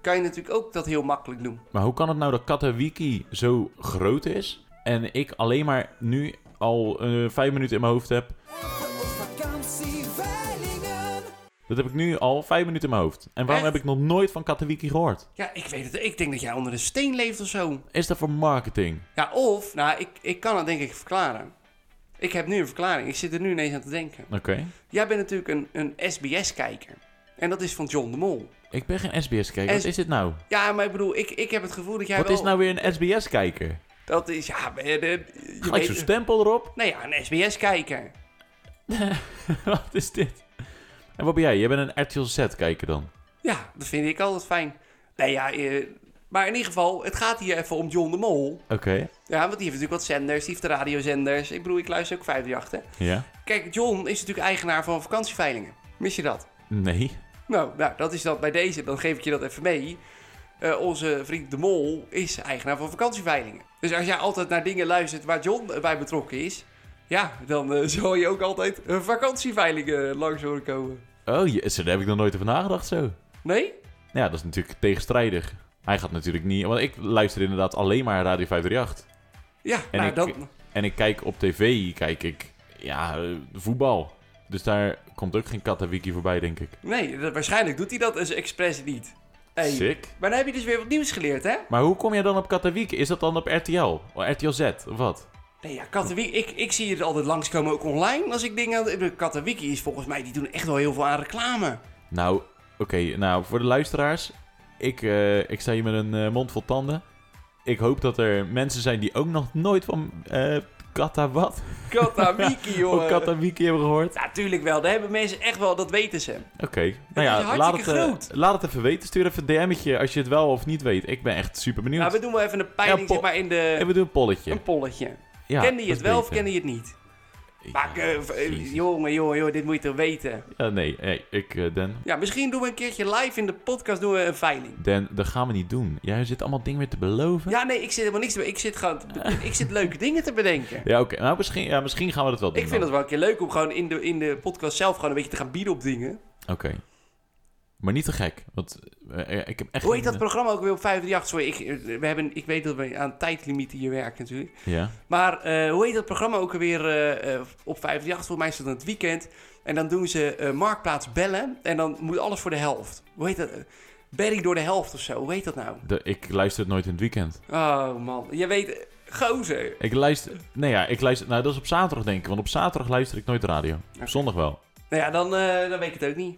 kan je natuurlijk ook dat heel makkelijk doen.
Maar hoe kan het nou dat Katawiki zo groot is... en ik alleen maar nu al eh, vijf minuten in mijn hoofd heb...
Vakantieveilingen.
Dat heb ik nu al vijf minuten in mijn hoofd. En waarom
Echt?
heb ik nog nooit van Katawiki gehoord?
Ja, ik weet het. Ik denk dat jij onder een steen leeft of zo.
Is dat voor marketing?
Ja, of, nou, ik, ik kan het denk ik verklaren. Ik heb nu een verklaring. Ik zit er nu ineens aan te denken.
Oké.
Jij bent natuurlijk een, een SBS-kijker. En dat is van John de Mol.
Ik ben geen SBS-kijker.
S-
Wat is dit nou?
Ja, maar ik bedoel, ik, ik heb het gevoel dat jij
Wat
wel...
is nou weer een SBS-kijker?
Dat is, ja... maar, eh, de- Je
Gelijk zo'n stempel erop.
Nou ja, een SBS-kijker.
wat is dit? En wat ben jij? Jij bent een RTL Z-kijker dan?
Ja, dat vind ik altijd fijn. Nee, ja... eh, maar in ieder geval, het gaat hier even om John de Mol.
Oké.
Ja, want die heeft natuurlijk wat zenders. Die heeft de radiozenders. Ik bedoel, ik luister ook 538, hè.
Ja?
Kijk, John is natuurlijk eigenaar van vakantieveilingen. Mis je dat?
Nee.
Nou, nou, dat is dat bij deze. Dan geef ik je dat even mee. Eh, onze vriend De Mol is eigenaar van vakantieveilingen. Dus als jij altijd naar dingen luistert waar John bij betrokken is... Ja, dan eh, zal je ook altijd een vakantieveilingen eh, langs horen komen.
Oh, yes, daar heb ik nog nooit over nagedacht zo. Nou
Nee?
Ja, dat is natuurlijk tegenstrijdig. Hij gaat natuurlijk niet... Want ik luister inderdaad alleen maar Radio 538.
Ja,
En
nou
ik-
dan...
En ik kijk op tv, kijk ik... Ja, eh, voetbal. Dus daar komt ook geen Katawiki voorbij, denk ik.
Nee, dat- waarschijnlijk doet hij dat dus expres niet. Hey.
Sick.
Maar dan heb je dus weer wat nieuws geleerd, hè?
Maar hoe kom je dan op Katawiki? Is dat dan op RTL? Of RTL Z? Of wat?
Nee, ja, Katawiki... Ik, ik zie je altijd langskomen ook online als ik dingen... aan het- Katawiki is volgens mij... Die doen echt wel heel veel aan reclame.
Nou, oké. nou, voor de luisteraars. Ik, eh, ik sta hier met een eh, mond vol tanden. Ik hoop dat er mensen zijn die ook nog nooit van eh Katawat
Katawiki, jongen.
of Katawiki hebben gehoord.
Natuurlijk wel, daar hebben mensen echt wel, dat weten ze.
Oké. Nou
is
ja,
hartstikke
laat het, eh,
groot.
laat het even weten. Stuur even een DM'tje als je het wel of niet weet. Ik ben echt super benieuwd.
Nou, we doen wel even een peiling,
Ja, pol-
zeg maar, in de,
En we doen een polletje.
een polletje.
Ja,
kende je
dat
het
is
wel of
beter.
kende je het niet? Maar
Ja,
eh, v- eh,
jezus.
jongen, jongen, jongen, dit moet je toch weten.
Ja, nee, hey, ik, eh, Den,
Ja, misschien doen we een keertje live in de podcast doen we een veiling.
Den, dat gaan we niet doen. Jij zit allemaal dingen weer te beloven.
Ja, nee, ik zit helemaal niks te Ik zit gewoon, ik zit leuke dingen te bedenken.
Ja, oké. Nou, misschien, ja, misschien gaan we dat wel doen.
Ik vind
dan.
het wel een keer leuk om gewoon in de, in de podcast zelf gewoon een beetje te gaan bieden op dingen.
Oké. Maar niet te gek. Want eh, ik heb echt...
Hoe heet dat
geen-
programma ook weer op 538? Sorry, ik, eh, we hebben, ik weet dat we aan tijdlimieten hier werken natuurlijk.
Ja.
Maar eh, hoe heet dat programma ook weer eh, eh, op 538? Volgens mij is dat in het weekend. En dan doen ze eh, Marktplaats bellen. En dan moet alles voor de helft. Hoe heet dat? Eh, Berry door de helft of zo. Hoe heet dat nou?
De, ik luister het nooit in het weekend.
Oh man, je weet... eh, Gozer.
Ik luister... Nee, ja, ik luister... Nou, dat is op zaterdag, denk ik. Want op zaterdag luister ik nooit radio. Op zondag wel.
Nou ja, dan, eh, dan weet ik het ook niet.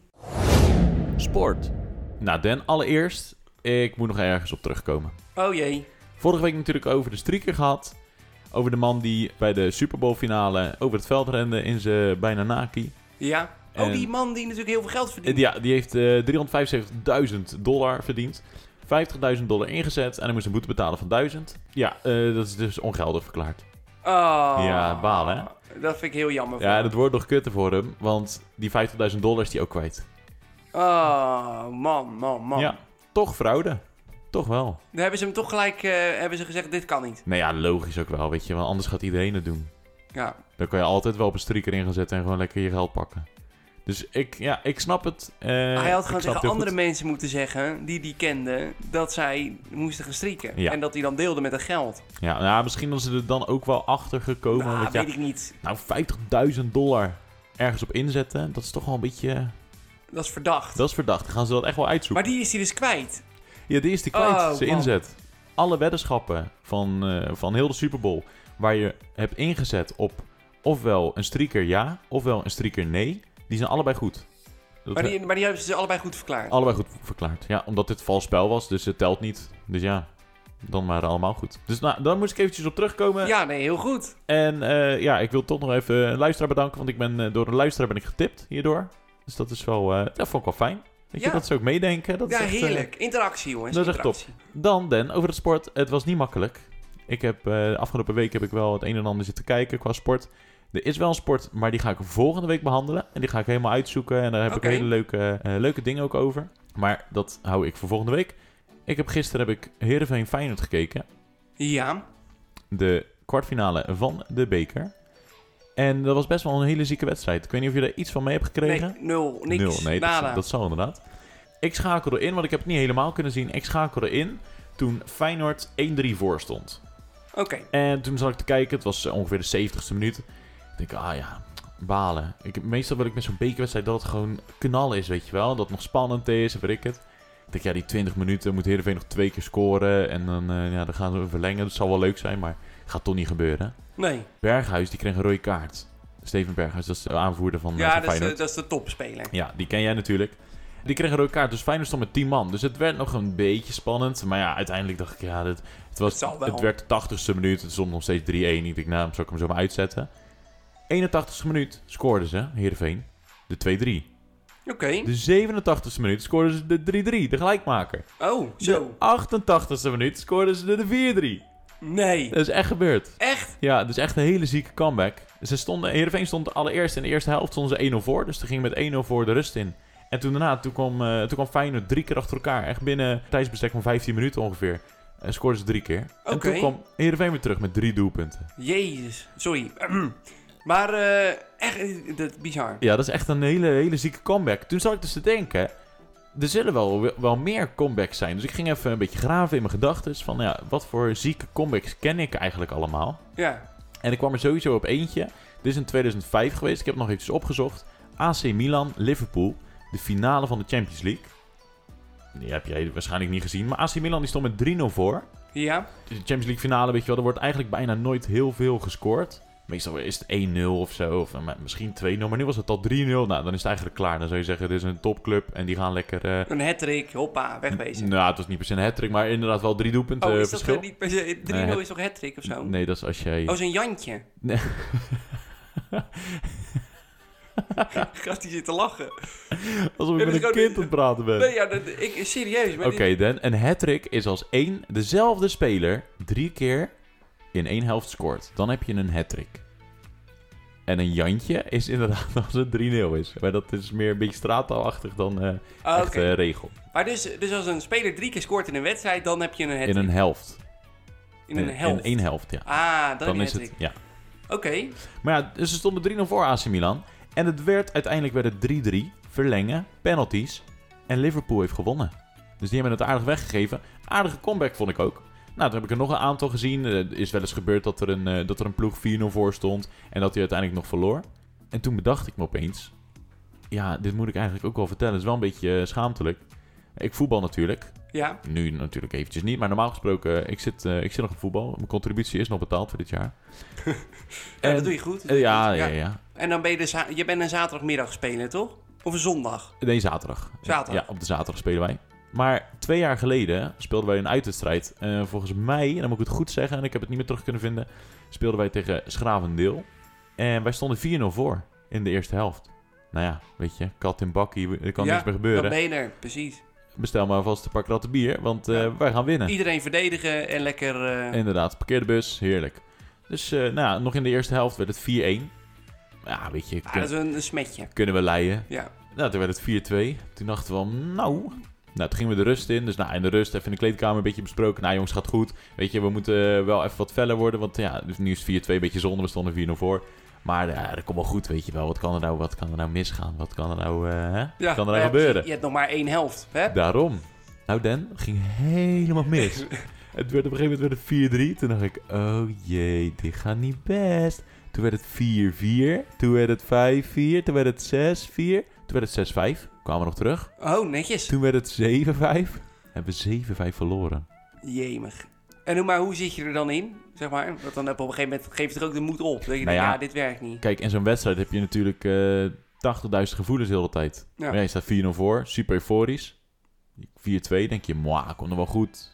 Sport. Nou, Den, allereerst... Ik moet nog ergens op terugkomen.
Oh jee.
Vorige week natuurlijk over de streaker gehad. Over de man die bij de Super Bowl finale over het veld rende in zijn bijna naki.
Ja.
En-
Oh, die man die natuurlijk heel veel geld
Eh,
verdient.
Ja, die heeft eh 375.000 dollar verdiend. 50.000 dollar ingezet en hij moest een boete betalen van 1000. Ja, eh, dat is dus ongeldig verklaard.
Oh.
Ja, balen, hè?
Dat vind ik heel jammer.
Ja,
voor
dat wordt nog kutter voor hem, want die 50.000 dollar is die ook kwijt.
hem. Oh, man, man, man.
Ja, toch fraude. Toch wel.
Dan hebben ze hem toch gelijk eh, hebben ze gezegd, dit kan niet.
Nou ja, logisch ook wel, weet je, want anders gaat iedereen het doen.
Ja.
Dan kan je altijd wel op een streaker in gaan zetten en gewoon lekker je geld pakken. Dus ik, ja, ik snap het. eh,
Hij had gewoon
ik snap het
tegen
heel
andere
goed.
mensen moeten zeggen, die die kenden, dat zij moesten gaan strieken.
Ja.
En dat hij dan deelde met het geld.
Ja, nou, misschien was ze er dan ook wel achter gekomen.
Nou,
omdat, ja,
weet ik niet.
Nou, 50.000 dollar ergens op inzetten, dat is toch wel een beetje...
Dat is verdacht.
Dat is verdacht. Gaan ze dat echt wel uitzoeken?
Maar die is hij dus kwijt.
Ja, die is die kwijt,
Oh,
zijn
man.
inzet. Alle weddenschappen van, eh, van heel de Super Bowl waar je hebt ingezet op ofwel een streaker ja, ofwel een streaker nee, die zijn allebei goed. Dat
Maar die, maar die hebben ze allebei goed verklaard.
Allebei goed verklaard. Ja, omdat dit vals spel was, dus het telt niet. Dus ja, dan waren allemaal goed. Dus nou, daar moest ik eventjes op terugkomen.
Ja, nee, heel goed.
En eh, ja, ik wil toch nog even een luisteraar bedanken, want ik ben, eh, door een luisteraar ben ik getipt hierdoor. Dus dat is wel, eh dat vond ik wel fijn. Weet je,
Ja.
dat ze ook meedenken. Dat
ja,
is echt, eh,
heerlijk. Interactie, jongens.
dat is echt top.
Interactie.
Dan, Den, over het sport. Het was niet makkelijk. Ik heb, eh, de afgelopen week heb ik wel het een en ander zitten kijken qua sport. Er is wel een sport, maar die ga ik volgende week behandelen. En die ga ik helemaal uitzoeken. En daar heb
Oké.
ik hele leuke, eh, leuke dingen ook over. Maar dat hou ik voor volgende week. Ik heb gisteren heb ik Heerenveen Feyenoord gekeken.
Ja.
De kwartfinale van de beker. En dat was best wel een hele zieke wedstrijd. Ik weet niet of je daar iets van mee hebt
Nee,
gekregen.
nul. Niks.
Nul, nee,
nada.
Dat, dat zal inderdaad. Ik schakelde in, want ik heb het niet helemaal kunnen zien. Ik schakelde in toen Feyenoord 1-3 voor stond.
Oké.
En toen zat ik te kijken, het was eh, ongeveer de 70ste minuut. Ik denk, ah ja, balen. Ik, meestal wil ik met zo'n bekerwedstrijd dat het gewoon knallen is, weet je wel. Dat het nog spannend is, en weet ik het. Ik denk, ja, die 20 minuten moet Heerenveen nog twee keer scoren. En dan, eh, ja, dan gaan we verlengen. Dat zal wel leuk zijn, maar gaat toch niet gebeuren.
Nee.
Berghuis, die kreeg een rode kaart. Steven Berghuis, dat is de aanvoerder van, eh,
Ja,
van
dat is,
Feyenoord.
de, dat is de topspeler.
Ja, die ken jij natuurlijk. Die kreeg een rode kaart, dus Feyenoord stond met 10 man. Dus het werd nog een beetje spannend. Maar ja, uiteindelijk dacht ik, ja, dit, het, was,
Het zal wel.
het werd de 80ste minuut. Het stond nog steeds 3-1. Ik dacht, nou, zou ik hem zo maar uitzetten. 81ste minuut scoorden ze, Heerenveen, de 2-3.
Oké.
De 87ste minuut scoorden ze de 3-3, de gelijkmaker.
Oh,
De
zo.
88ste minuut scoorden ze de 4-3.
Nee.
Dat is echt gebeurd.
Echt?
Ja, dus echt een hele zieke comeback. Ze stonden, Heerenveen stond allereerst in de eerste helft stonden ze 1-0 voor. Dus toen ging met 1-0 voor de rust in. En toen daarna, toen kwam, eh, toen kwam Feyenoord drie keer achter elkaar. Echt binnen tijdsbestek van 15 minuten ongeveer. En scoorden ze drie keer. En
Oké.
toen kwam Heerenveen weer terug met drie doelpunten.
Jezus. Sorry. Maar eh, echt, eh, dat is bizar.
Ja, dat is echt een hele, hele zieke comeback. Toen zat ik dus te denken... Er zullen wel, wel meer comebacks zijn. Dus ik ging even een beetje graven in mijn gedachten. Dus Van ja, wat voor zieke comebacks ken ik eigenlijk allemaal?
Ja.
En ik kwam er sowieso op eentje. Dit is in 2005 geweest. Ik heb het nog eventjes opgezocht. AC Milan, Liverpool. De finale van de Champions League. Die heb jij waarschijnlijk niet gezien. Maar AC Milan die stond met 3-0 voor.
Ja.
De Champions League finale, weet je wel. Er wordt eigenlijk bijna nooit heel veel gescoord. Meestal is het 1-0 of zo. Of eh, misschien 2-0. Maar nu was het al 3-0. Nou, dan is het eigenlijk klaar. Dan zou je zeggen, dit is een topclub. En die gaan lekker... eh,
Een hattrick. Hoppa. Wegwezen.
nou, het was niet per se een hat maar inderdaad wel drie doelpunten
oh,
eh,
is dat
verschil.
eh, niet per se- 3-0
Nee, het-
is toch hattrick of zo?
Nee, dat is als jij...
Oh, zo'n Jantje.
Nee.
Gast, die zit te lachen.
Alsof ik
dit
met
is
een
gewoon
kind
niet-
aan het praten ben.
Nee, ja, dat, ik, serieus. maar
Oké, Dan. Een hat-trick is als één dezelfde speler drie keer in één helft scoort. Dan heb je een hat-trick.
dit-
En een Jantje is inderdaad als het 3-0 is. Maar dat is meer een beetje straattaalachtig dan eh,
Ah,
echt
oké.
eh, regel.
Maar dus, dus als een speler drie keer scoort in een wedstrijd, dan heb je een
In
hat-trick.
een helft. Eh,
In een helft.
In één helft, ja.
Ah, dan,
Dan
heb
is
je
het,
hat-trick.
ja.
Oké.
Maar ja, dus ze stonden 3-0 voor AC Milan. En het werd, uiteindelijk werd het 3-3. Verlengen, penalties. En Liverpool heeft gewonnen. Dus die hebben het aardig weggegeven. Aardige comeback vond ik ook. Nou, toen heb ik er nog een aantal gezien. Eh, Er is wel eens gebeurd dat er een, eh, dat er een ploeg 4-0 voor stond. En dat hij uiteindelijk nog verloor. En toen bedacht ik me opeens... Ja, dit moet ik eigenlijk ook wel vertellen. Het is wel een beetje eh, schaamtelijk. Ik voetbal natuurlijk.
Ja.
Nu natuurlijk eventjes niet, maar normaal gesproken, ik zit, eh, ik zit nog op voetbal. Mijn contributie is nog betaald voor dit jaar.
Ja,
En-
dat doe je goed. dat doe
Eh,
je
ja,
goed.
ja, ja.
En dan ben je, de za- je bent een zaterdagmiddag spelen, toch? Of een zondag?
Nee, zaterdag.
Zaterdag.
Ja, op de zaterdag spelen wij. Maar twee jaar geleden speelden wij een uitwedstrijd. Eh, volgens mij, en dan moet ik het goed zeggen, en ik heb het niet meer terug kunnen vinden, speelden wij tegen Schravendeel. En wij stonden 4-0 voor in de eerste helft. Nou ja, weet je, kat in bakkie, er kan
Ja,
niks meer
Dan
gebeuren.
ben je er, precies.
Bestel maar vast een paar kratten bier, want eh,
Ja.
wij gaan winnen.
Iedereen verdedigen en lekker... eh,
Inderdaad, parkeerde bus, heerlijk. Dus eh, nou ja, nog in de eerste helft werd het 4-1. Ja, weet je,
ah,
kun-
dat is een, een smetje.
kunnen we leiden.
Ja.
Nou, toen werd het 4-2. Toen dachten we, al, nou... Nou, toen gingen we de rust in. Dus nou, in de rust even in de kleedkamer een beetje besproken. Nou jongens, gaat goed. Weet je, we moeten eh, wel even wat feller worden. Want ja, dus nu is het 4-2 een beetje zonde. We stonden 4-0 voor. Maar ja, dat komt wel goed, weet je wel. Wat kan er nou, wat kan er nou misgaan? Wat kan er nou, eh, hè?
ja.
Wat kan er nou
ja,
gebeuren?
Je hebt nog maar één helft, hè?
Daarom. Nou, Dan ging helemaal mis. Het werd op een gegeven moment werd het 4-3. Toen dacht ik, oh jee, dit gaat niet best. Toen werd het 4-4. Toen werd het 5-4. Toen werd het 6-4. Toen werd het 6-5. Kwamen we nog terug.
Oh, netjes.
Toen werd het 7-5. Hebben we 7-5 verloren.
Jemig. En hoe, maar hoe zit je er dan in? Zeg maar, want dan heb je op een gegeven moment geeft het ook de moed op. Dat je denkt,
Nou ja.
ja, dit werkt niet.
Kijk, in zo'n wedstrijd heb je natuurlijk eh 80.000 gevoelens de hele tijd.
Ja.
Maar ja, je staat 4-0 voor. Super euforisch. 4-2 denk je, mwah, komt nog wel goed.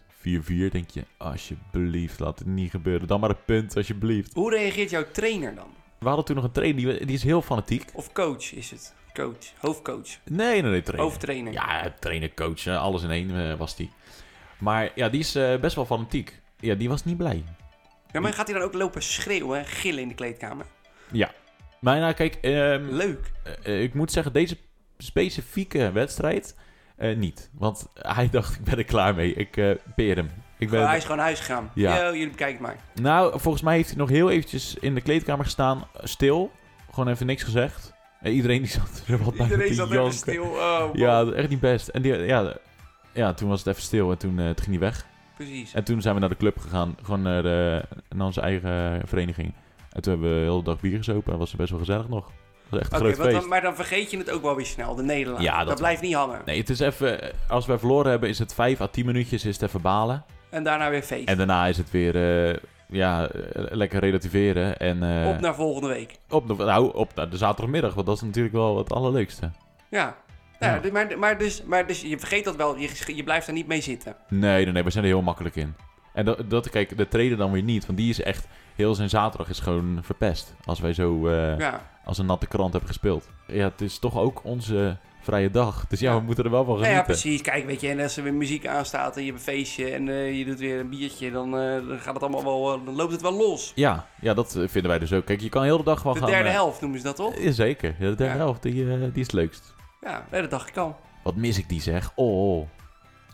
4-4 denk je, alsjeblieft, laat het niet gebeuren. Dan maar een punt, alsjeblieft.
Hoe reageert jouw trainer dan?
We hadden toen nog een trainer, die, die is heel fanatiek.
Of coach is het? Coach, hoofdcoach,
Nee, nee, nee, trainer.
hoofdtrainer.
Ja, trainer, coach, eh, alles in één eh, was die. Maar ja, die is eh, best wel fanatiek. Ja, die was niet blij.
Ja, maar gaat hij dan ook lopen schreeuwen en gillen in de kleedkamer?
Maar nou, kijk, ehm,
Leuk.
eh, ik moet zeggen, deze specifieke wedstrijd eh, niet. Want hij dacht, ik ben er klaar mee. Ik eh peer hem. Ik ben,
Hij is gewoon naar huis gegaan.
Ja.
Yo, jullie bekijken het maar.
Nou, volgens mij heeft hij nog heel eventjes in de kleedkamer gestaan, eh, stil. Gewoon even niks gezegd. Eh, iedereen die zat er wat bij te
Iedereen zat even
janken.
stil. Oh, man.
Ja, dat- echt niet best. En die, ja, ja, toen was het even stil en toen, eh, het ging hij weg.
Precies.
En toen zijn we naar de club gegaan, gewoon naar, de, naar onze eigen vereniging. En toen hebben we de hele dag bier gezopen en was het best wel gezellig nog. Het was echt een
Oké,
groot
wat
feest.
dan- maar dan vergeet je het ook wel weer snel, de Nederlander.
Ja,
dat
dat wel.
blijft niet hangen.
Nee, het is even, eh, als wij verloren hebben is het 5 à 10 minuutjes is het even balen.
En daarna weer feest.
En daarna is het weer, eh, ja, eh, lekker relativeren. En, eh,
Op naar volgende week.
op, de, nou, op naar de zaterdagmiddag, want dat is natuurlijk wel het allerleukste.
Ja. Nou,
Ja.
dus- Maar, maar, dus, maar dus je vergeet dat wel, je, je blijft daar niet mee zitten.
Nee, nee, nee, we zijn er heel makkelijk in. En dat, dat kijk, de trainer dan weer niet, want die is echt, heel zijn zaterdag is gewoon verpest. Als wij zo eh,
Ja.
als een natte krant hebben gespeeld. Ja, het is toch ook onze vrije dag. Dus ja,
Ja.
we moeten er wel van
Nou ja,
genieten.
precies. Kijk, weet je, en als er weer muziek aanstaat en je hebt een feestje en eh, je doet weer een biertje, dan, eh, dan gaat het allemaal wel, eh, dan loopt het wel los.
ja, ja, dat eh, vinden wij dus ook. Kijk, je kan heel de dag wel
De
gaan...
derde
eh,
helft noemen ze dat toch?
ja, zeker. Ja, de derde
Ja.
helft, die, eh, die is het leukst.
Ja, nee, dat dacht ik al.
Wat mis ik die zeg. Oh,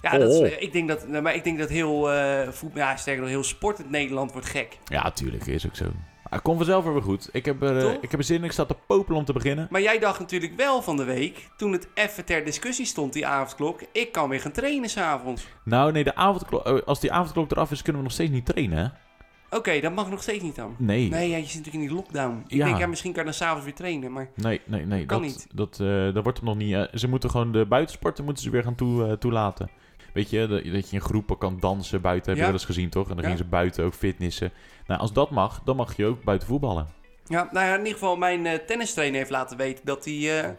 Ja,
Oh.
dat is, eh, ik denk dat, nou, maar ik denk dat heel, eh voet, ja, sterker nog, heel sportend Nederland wordt gek.
ja, tuurlijk, is ook zo. Maar kom vanzelf weer goed. Ik heb, er, eh,
Toch?
ik heb er zin in, ik sta te popelen om te beginnen.
Maar jij dacht natuurlijk wel van de week, toen het even ter discussie stond, die avondklok, ik kan weer gaan trainen s'avonds.
Nou, nee, de avondklok, eh, als die avondklok eraf is, kunnen we nog steeds niet trainen, hè?
Oké, dat mag nog steeds niet dan.
Nee.
Nee, ja, je zit natuurlijk in die lockdown. Ik
Ja.
denk, ja, misschien kan je dan s'avonds weer trainen, maar...
Nee, nee, nee.
Kan
dat,
niet.
Dat, eh, dat wordt hem nog niet. eh, ze moeten gewoon de buitensporten moeten ze weer gaan toe, eh, toelaten. Weet je, dat, dat je in groepen kan dansen buiten. Heb
Ja.
je wel eens gezien, toch? En dan
Ja.
gingen ze buiten ook fitnessen. Nou, als dat mag, dan mag je ook buiten voetballen.
Ja, nou ja, in ieder geval, mijn tennis tennistrainer heeft laten weten dat hij eh,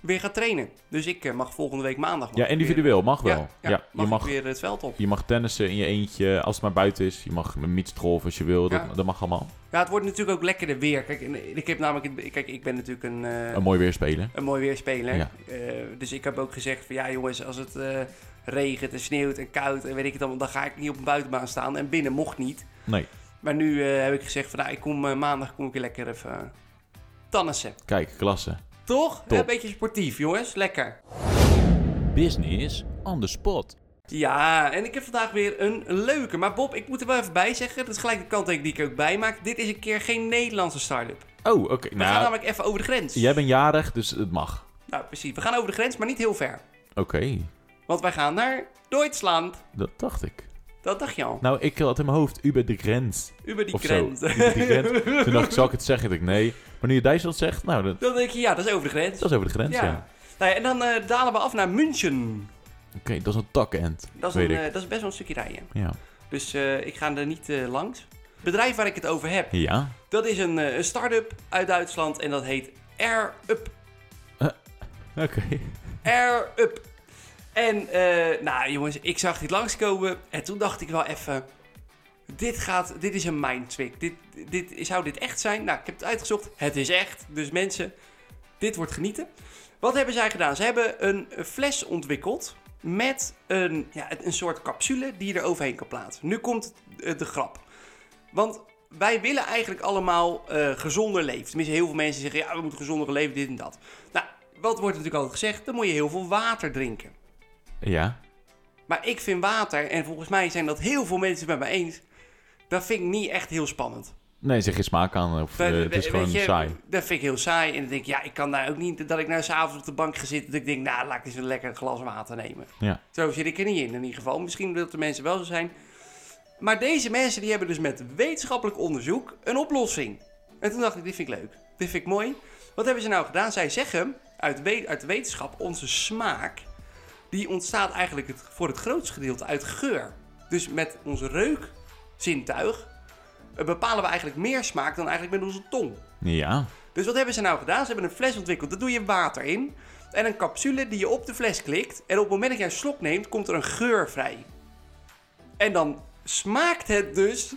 weer gaat trainen. Dus ik eh, mag volgende week maandag. mag
Ja,
ik weer-
individueel. Mag wel.
Ja, ja,
Ja,
mag
je,
ik
mag,
weer het veld op.
je mag tennissen in je eentje als het maar buiten is. Je mag met mitsgolf als je wil. Dat,
Ja.
dat mag allemaal.
Ja, het wordt natuurlijk ook lekkerder weer. Kijk, en eh, ik heb namelijk, kijk, ik ben natuurlijk een, eh,
Een mooi weer spelen.
een mooi weerspeler.
Ja.
Eh, dus ik heb ook gezegd van, ja jongens, als het eh, regent en sneeuwt en koud en weet ik het allemaal, dan ga ik niet op een buitenbaan staan. En binnen mocht niet.
Nee.
Maar nu eh, heb ik gezegd van, nou, ik kom eh, maandag kom ik weer lekker even Tannissen.
Kijk, klasse.
Toch?
Top.
Een beetje sportief, jongens. Lekker.
Business on the spot.
Ja, en ik heb vandaag weer een leuke. Maar Bob, ik moet er wel even bij zeggen. Dat is gelijk de kanttekening die ik ook bij maak. Dit is een keer geen Nederlandse start-up. We
Oh, oké.
gaan
Nou,
namelijk even over de grens.
jij bent jarig, dus het mag.
Nou, precies. We gaan over de grens, maar niet heel ver.
Oké,
Want wij gaan naar Duitsland.
dat dacht ik.
Dat dacht je al.
Nou, ik had in mijn hoofd Uber de grens.
Uber die
Of zo.
grens.
Uber die grens. Toen dacht ik, zal ik het zeggen? Ik dacht, nee. Maar nu je Duitsland zegt, nou, dat,
Dan denk je, ja, dat is over de grens.
dat is over de grens, ja.
Nou ja, en dan eh, dalen we af naar München.
Oké, dat is een takend.
Dat is,
Weet
een,
ik.
eh, dat is best wel een stukje rijden.
Ja.
Dus eh, ik ga er niet eh, langs. Het bedrijf waar ik het over heb,
Ja?
dat is een, eh, een start-up uit Duitsland. En dat heet Air Up.
Oké.
Air Up. En, eh, nou jongens, ik zag dit langskomen. En toen dacht ik wel even... Dit, gaat, dit is een mindtrick. Dit, dit, zou dit echt zijn? Nou, ik heb het uitgezocht. Het is echt. Dus mensen, dit wordt genieten. Wat hebben zij gedaan? Ze hebben een fles ontwikkeld met een, ja, een soort capsule die je er overheen kan plaatsen. Nu komt eh, de grap. Want wij willen eigenlijk allemaal eh, gezonder leven. Tenminste, heel veel mensen zeggen, ja, we moeten gezonder leven, dit en dat. Nou, wat wordt natuurlijk altijd gezegd? Dan moet je heel veel water drinken.
Ja.
Maar ik vind water, en volgens mij zijn dat heel veel mensen het met me eens, dat vind ik niet echt heel spannend.
Nee, zeg je smaak aan of
We-
eh,
we-
het is
weet
gewoon
je,
saai.
Dat vind ik heel saai. En dan denk ik, ja, ik kan daar ook niet dat ik nou s'avonds op de bank ga zitten. Dat ik denk, nou, laat ik eens een lekker glas water nemen.
Ja.
Zo zit ik er niet in, in ieder geval. Misschien dat de mensen wel zo zijn. Maar deze mensen die hebben dus met wetenschappelijk onderzoek een oplossing. En toen dacht ik, dit vind ik leuk. Dit vind ik mooi. Wat hebben ze nou gedaan? Zij zeggen uit, we- uit de wetenschap, onze smaak, die ontstaat eigenlijk het, voor het grootste gedeelte uit geur. Dus met ons reukzintuig eh, bepalen we eigenlijk meer smaak dan eigenlijk met onze tong.
Ja.
Dus wat hebben ze nou gedaan? Ze hebben een fles ontwikkeld. Daar doe je water in. En een capsule die je op de fles klikt. En op het moment dat jij een slok neemt, komt er een geur vrij. En dan smaakt het dus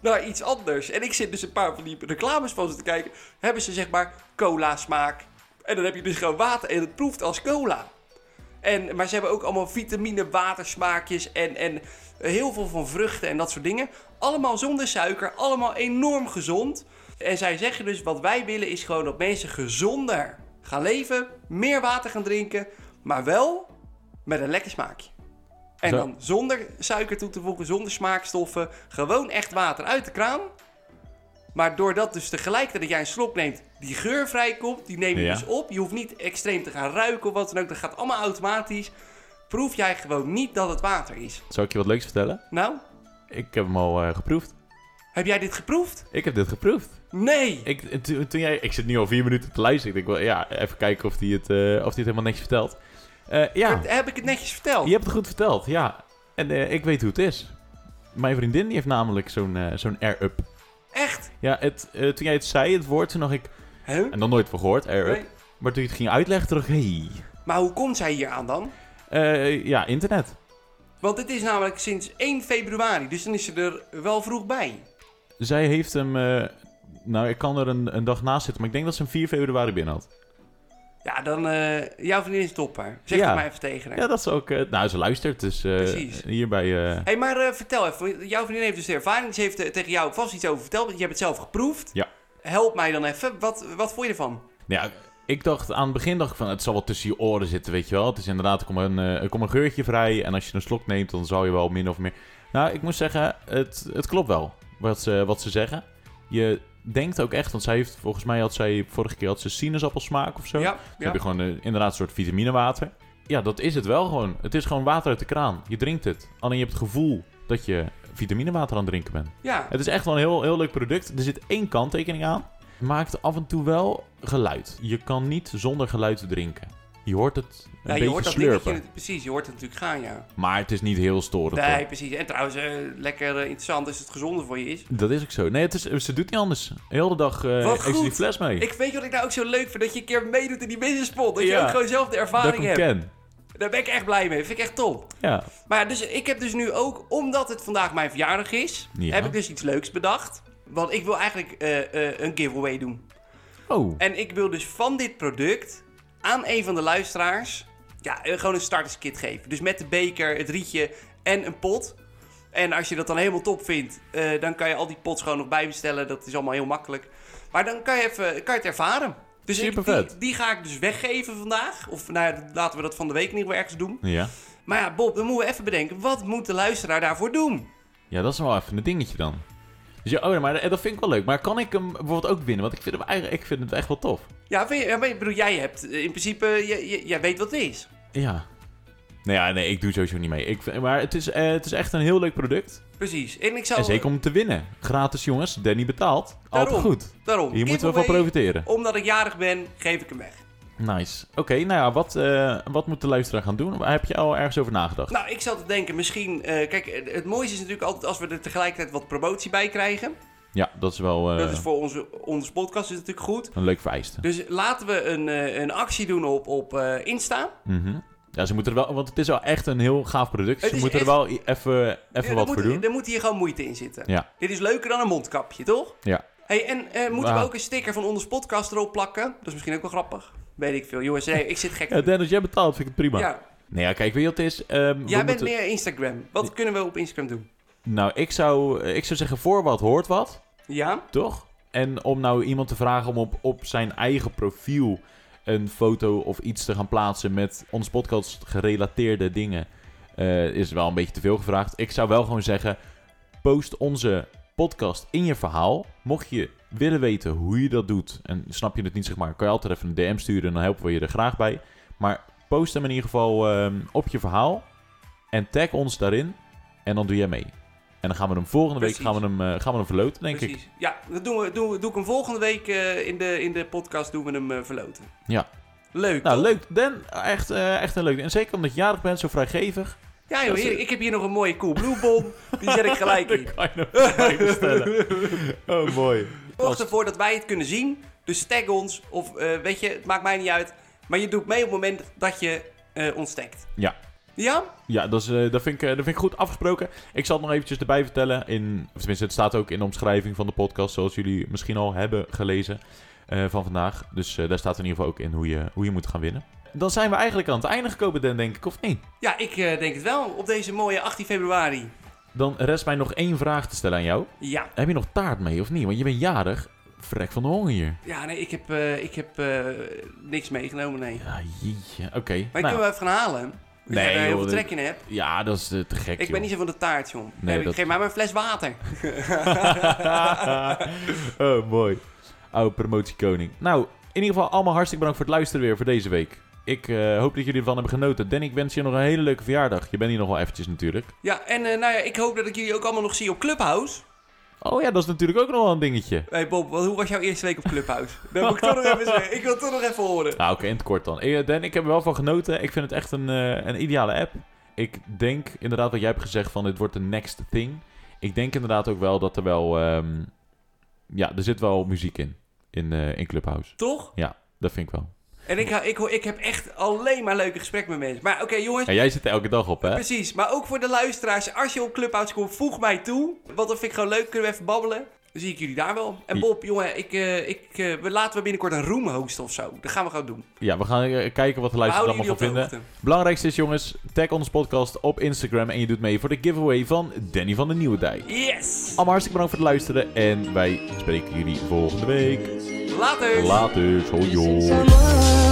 naar iets anders. En ik zit dus een paar van die reclames van ze te kijken. Hebben ze zeg maar cola smaak. En dan heb je dus gewoon water en het proeft als cola. En, maar ze hebben ook allemaal vitamine, watersmaakjes en, en heel veel van vruchten en dat soort dingen. Allemaal zonder suiker, allemaal enorm gezond. En zij zeggen dus, wat wij willen is gewoon dat mensen gezonder gaan leven, meer water gaan drinken, maar wel met een lekker smaakje. En
Zo.
dan zonder suiker toe te voegen, zonder smaakstoffen, gewoon echt water uit de kraan. Maar doordat dus tegelijkertijd dat jij een slok neemt, die geur vrijkomt, die neem je
Ja.
dus op. Je hoeft niet extreem te gaan ruiken of wat dan ook. Dat gaat allemaal automatisch. Proef jij gewoon niet dat het water is.
Zal ik je wat leuks vertellen?
Nou,
Ik heb hem al eh, geproefd.
heb jij dit geproefd?
Ik heb dit geproefd.
Nee!
Ik, en toen, toen jij, ik zit nu al vier minuten te luisteren. Ik denk wel, ja, even kijken of hij het, eh, of die het helemaal netjes vertelt. Eh, ja,
Heb, heb ik het netjes verteld?
je hebt het goed verteld, ja. En eh, ik weet hoe het is. Mijn vriendin die heeft namelijk zo'n eh, zo'n air-up.
Echt?
Ja, het, eh, toen jij het zei, het woord, toen dacht ik...
Huh?
En dan nooit van gehoord, air-up.
Nee.
Maar toen je het ging uitleggen, dacht ik, hey.
Maar hoe komt zij hier aan dan?
Eh, ja, internet.
Want het is namelijk sinds 1 februari, dus dan is ze er wel vroeg bij.
Zij heeft hem... eh, nou, ik kan er een, een dag naast zitten, maar ik denk dat ze hem 4 februari binnen had.
Ja, dan... eh jouw vriendin is topper. Zeg
Ja.
het maar even tegen haar.
Ja, dat is ook... eh, nou, ze luistert, dus eh,
Precies.
hier bij... eh,
Hé, maar eh, vertel even. Jouw vriendin heeft dus de ervaring. Ze heeft eh, tegen jou vast iets over verteld. want Je hebt het zelf geproefd.
Ja.
Help mij dan even. Wat, wat vond je ervan?
Ja, ik dacht aan het begin dacht ik van het zal wel tussen je oren zitten, weet je wel. Het is inderdaad, er komt een, eh, er komt een geurtje vrij en als je een slok neemt, dan zal je wel min of meer... Nou, ik moet zeggen, het, het klopt wel wat ze, wat ze zeggen. Je denkt ook echt, want zij heeft, volgens mij had zij, vorige keer had ze sinaasappelsmaak of zo.
Ja,
Dan
ja.
heb je gewoon eh, inderdaad een soort vitaminewater. Ja, dat is het wel gewoon. Het is gewoon water uit de kraan. Je drinkt het. Alleen je hebt het gevoel dat je vitaminewater aan het drinken bent.
ja.
Het is echt wel een heel, heel leuk product. Er zit één kanttekening aan. Maakt af en toe wel geluid. Je kan niet zonder geluid drinken. Je hoort het een
Ja, je
beetje
hoort dat
slurpen.
dingetje- precies, je hoort het natuurlijk gaan, ja.
Maar het is niet heel storend.
nee,
hoor.
precies. En trouwens, eh, lekker eh, interessant is het gezonder voor je is.
Dat is ook zo. Nee, het is, ze doet niet anders. Heel de dag eh,
Wat
heeft ze die
goed.
fles mee.
Ik weet je wat ik nou ook zo leuk vind, dat je een keer meedoet in die businesspot. Dat je
Ja.
ook gewoon zelf de
dat ik
ervaring
hem
hebt.
ken.
Daar ben ik echt blij mee. Vind ik echt top.
Ja.
Maar ja, dus ik heb dus nu ook, omdat het vandaag mijn verjaardag is,
Ja.
heb ik dus iets leuks bedacht. Want ik wil eigenlijk eh, eh, een giveaway doen.
Oh,
En ik wil dus van dit product aan een van de luisteraars ja, eh, gewoon een starterskit geven. Dus met de beker, het rietje en een pot. En als je dat dan helemaal top vindt, eh, dan kan je al die pots gewoon nog bijbestellen. Dat is allemaal heel makkelijk. Maar dan kan je, even, kan je het ervaren. Dus ik,
Supervet.
die, die ga ik dus weggeven vandaag. Of nou ja, laten we dat van de week in ieder geval ergens doen.
Ja.
Maar ja, Bob, dan moeten we even bedenken. Wat moet de luisteraar daarvoor doen?
ja, dat is wel even een dingetje dan. Dus ja, oh, maar dat vind ik wel leuk. Maar kan ik hem bijvoorbeeld ook winnen? Want ik vind, hem eigenlijk, ik vind het echt wel tof.
Ja, vind je- ja, maar ik bedoel, jij hebt eh, in principe... eh, j- j- jij weet wat het is.
Ja. Nou ja, nee, ik doe sowieso niet mee. Ik, vind- maar het is, eh, het is echt een heel leuk product.
Precies. En ik zal...
En zeker om te winnen. Gratis jongens, Danny betaalt. Altijd
Oh. Daarom.
goed.
Daarom.
Hier moeten we van
giveaway.
profiteren.
Omdat ik jarig ben, geef ik hem weg.
Nice. Oké, nou ja, wat, eh, wat moet de luisteraar gaan doen? Heb je al ergens over nagedacht?
Nou, ik zat te denken, misschien... eh, kijk, eh, het mooiste is natuurlijk altijd als we er tegelijkertijd wat promotie bij krijgen.
Ja, dat is wel eh,
Dat is voor onze, onze podcast is natuurlijk goed.
een leuk vereiste.
Dus laten we een, eh, een actie doen op, op eh, Insta.
Mhm. Ja, ze moeten er wel, want het is wel echt een heel gaaf product.
Het
Ze
is
moeten er
echt-
wel i- even, even
Er
wat
moet-
voor doen.
Er moet hier gewoon moeite in zitten.
Ja.
Dit is leuker dan een mondkapje, toch?
Ja.
Hey, en eh, moeten
Ah.
we ook een sticker van onze podcast erop plakken? Dat is misschien ook wel grappig. Weet ik veel. Jongens, hey, ik zit gek.
ja, Dennis, jij betaalt, vind ik het prima.
Ja.
Nee, ja, kijk, weet je wat het is? Ehm, we
Jij bent
moeten-
meer Instagram. Wat kunnen we op Instagram doen?
Nou, ik zou, ik zou zeggen, voor wat hoort wat,
Ja?
toch? En om nou iemand te vragen om op, op zijn eigen profiel een foto of iets te gaan plaatsen met ons podcast gerelateerde dingen, eh, is wel een beetje te veel gevraagd. Ik zou wel gewoon zeggen, post onze podcast in je verhaal. Mocht je willen weten hoe je dat doet, en snap je het niet, zeg maar, kan je altijd even een DM sturen, dan helpen we je er graag bij. Maar post hem in ieder geval ehm, op je verhaal en tag ons daarin en dan doe jij mee. En dan gaan we hem volgende
Precies.
week gaan we hem, eh, gaan we hem verloten, denk ik.
Precies. Ja, dat doen we, doen we, doe ik hem volgende week eh, in, de, in de podcast doen we hem eh, verloten.
Ja.
Leuk,
Nou,
toch?
leuk. Dan, echt, eh, echt een leuk. En zeker omdat je jarig bent, zo vrijgevig.
Ja joh,
Dat is-
heerlijk. ik heb hier nog een mooie cool blue bom. Die zet ik gelijk in.
kan je hem bestellen. Oh, mooi.
Zorg ervoor dat wij het kunnen zien. Dus tag ons. Of eh, weet je, het maakt mij niet uit. Maar je doet mee op het moment dat je eh ons tagt.
Ja.
Ja?
Ja, dat, is, eh, dat, vind ik, eh, dat vind ik goed afgesproken. Ik zal het nog eventjes erbij vertellen. In, of tenminste, het staat ook in de omschrijving van de podcast, zoals jullie misschien al hebben gelezen eh, van vandaag. Dus eh, daar staat in ieder geval ook in hoe je, hoe je moet gaan winnen. Dan zijn we eigenlijk aan het einde gekomen, Dan, denk ik, of niet?
Ja, ik eh, denk het wel. Op deze mooie 18 februari.
Dan rest mij nog één vraag te stellen aan jou.
Ja.
Heb je nog taart mee of niet? Want je bent jarig. Vrek van de honger hier.
Ja, nee, ik heb, eh, ik heb eh, niks meegenomen, nee.
Ja, jeetje. Oké.
Maar ik
nou,
kunnen we even gaan halen. Ik
Nee,
heb er heel
joh,
veel
dit-
trek in heb.
Ja, dat is eh, te gek,
Ik ben niet zo van de taart, John. Nee,
dat-
Geef mij maar een fles water.
oh, mooi. Oude promotiekoning. Nou, in ieder geval allemaal hartstikke bedankt voor het luisteren weer voor deze week. Ik eh, hoop dat jullie ervan hebben genoten. Dan, ik wens je nog een hele leuke verjaardag. Je bent hier nog wel eventjes natuurlijk.
Ja, en eh, nou ja, ik hoop dat ik jullie ook allemaal nog zie op Clubhouse.
Oh ja, dat is natuurlijk ook nog wel een dingetje.
hey Bob, wat- hoe was jouw eerste week op Clubhouse? Dat moet ik toch nog even zeggen. Ik wil het toch nog even horen.
Nou, oké, in het kort dan. Eh, Dan, ik heb er wel van genoten. Ik vind het echt een, eh, een ideale app. Ik denk inderdaad wat jij hebt gezegd van dit wordt de next thing. Ik denk inderdaad ook wel dat er wel... ehm, ja, er zit wel muziek in. In, eh, in Clubhouse.
Toch?
Dat vind ik wel.
En ik, hou- ik, hoor- ik heb echt alleen maar leuke gesprekken met mensen. Maar oké, jongens.
En jij zit er elke dag op, hè?
Precies, maar ook voor de luisteraars. Als je op Clubhouse komt, voeg mij toe. Want dat vind ik gewoon leuk. Kunnen we even babbelen? Dan zie ik jullie daar wel. En
Ja.
Bob, jongen, ik, eh, ik, eh, we laten we binnenkort een room hosten of zo. Dat gaan we gewoon doen.
Ja, we gaan eh, kijken wat de
We
luisteraars
houden
allemaal
jullie
van
op de
vinden.
hoogte.
Belangrijkste is, jongens, tag onze podcast op Instagram en je doet mee voor de giveaway van Danny van de Nieuwendijk.
Yes!
Allemaal hartstikke bedankt voor het luisteren en wij spreken jullie volgende week.
Later!
Later, hoi joh.
Someone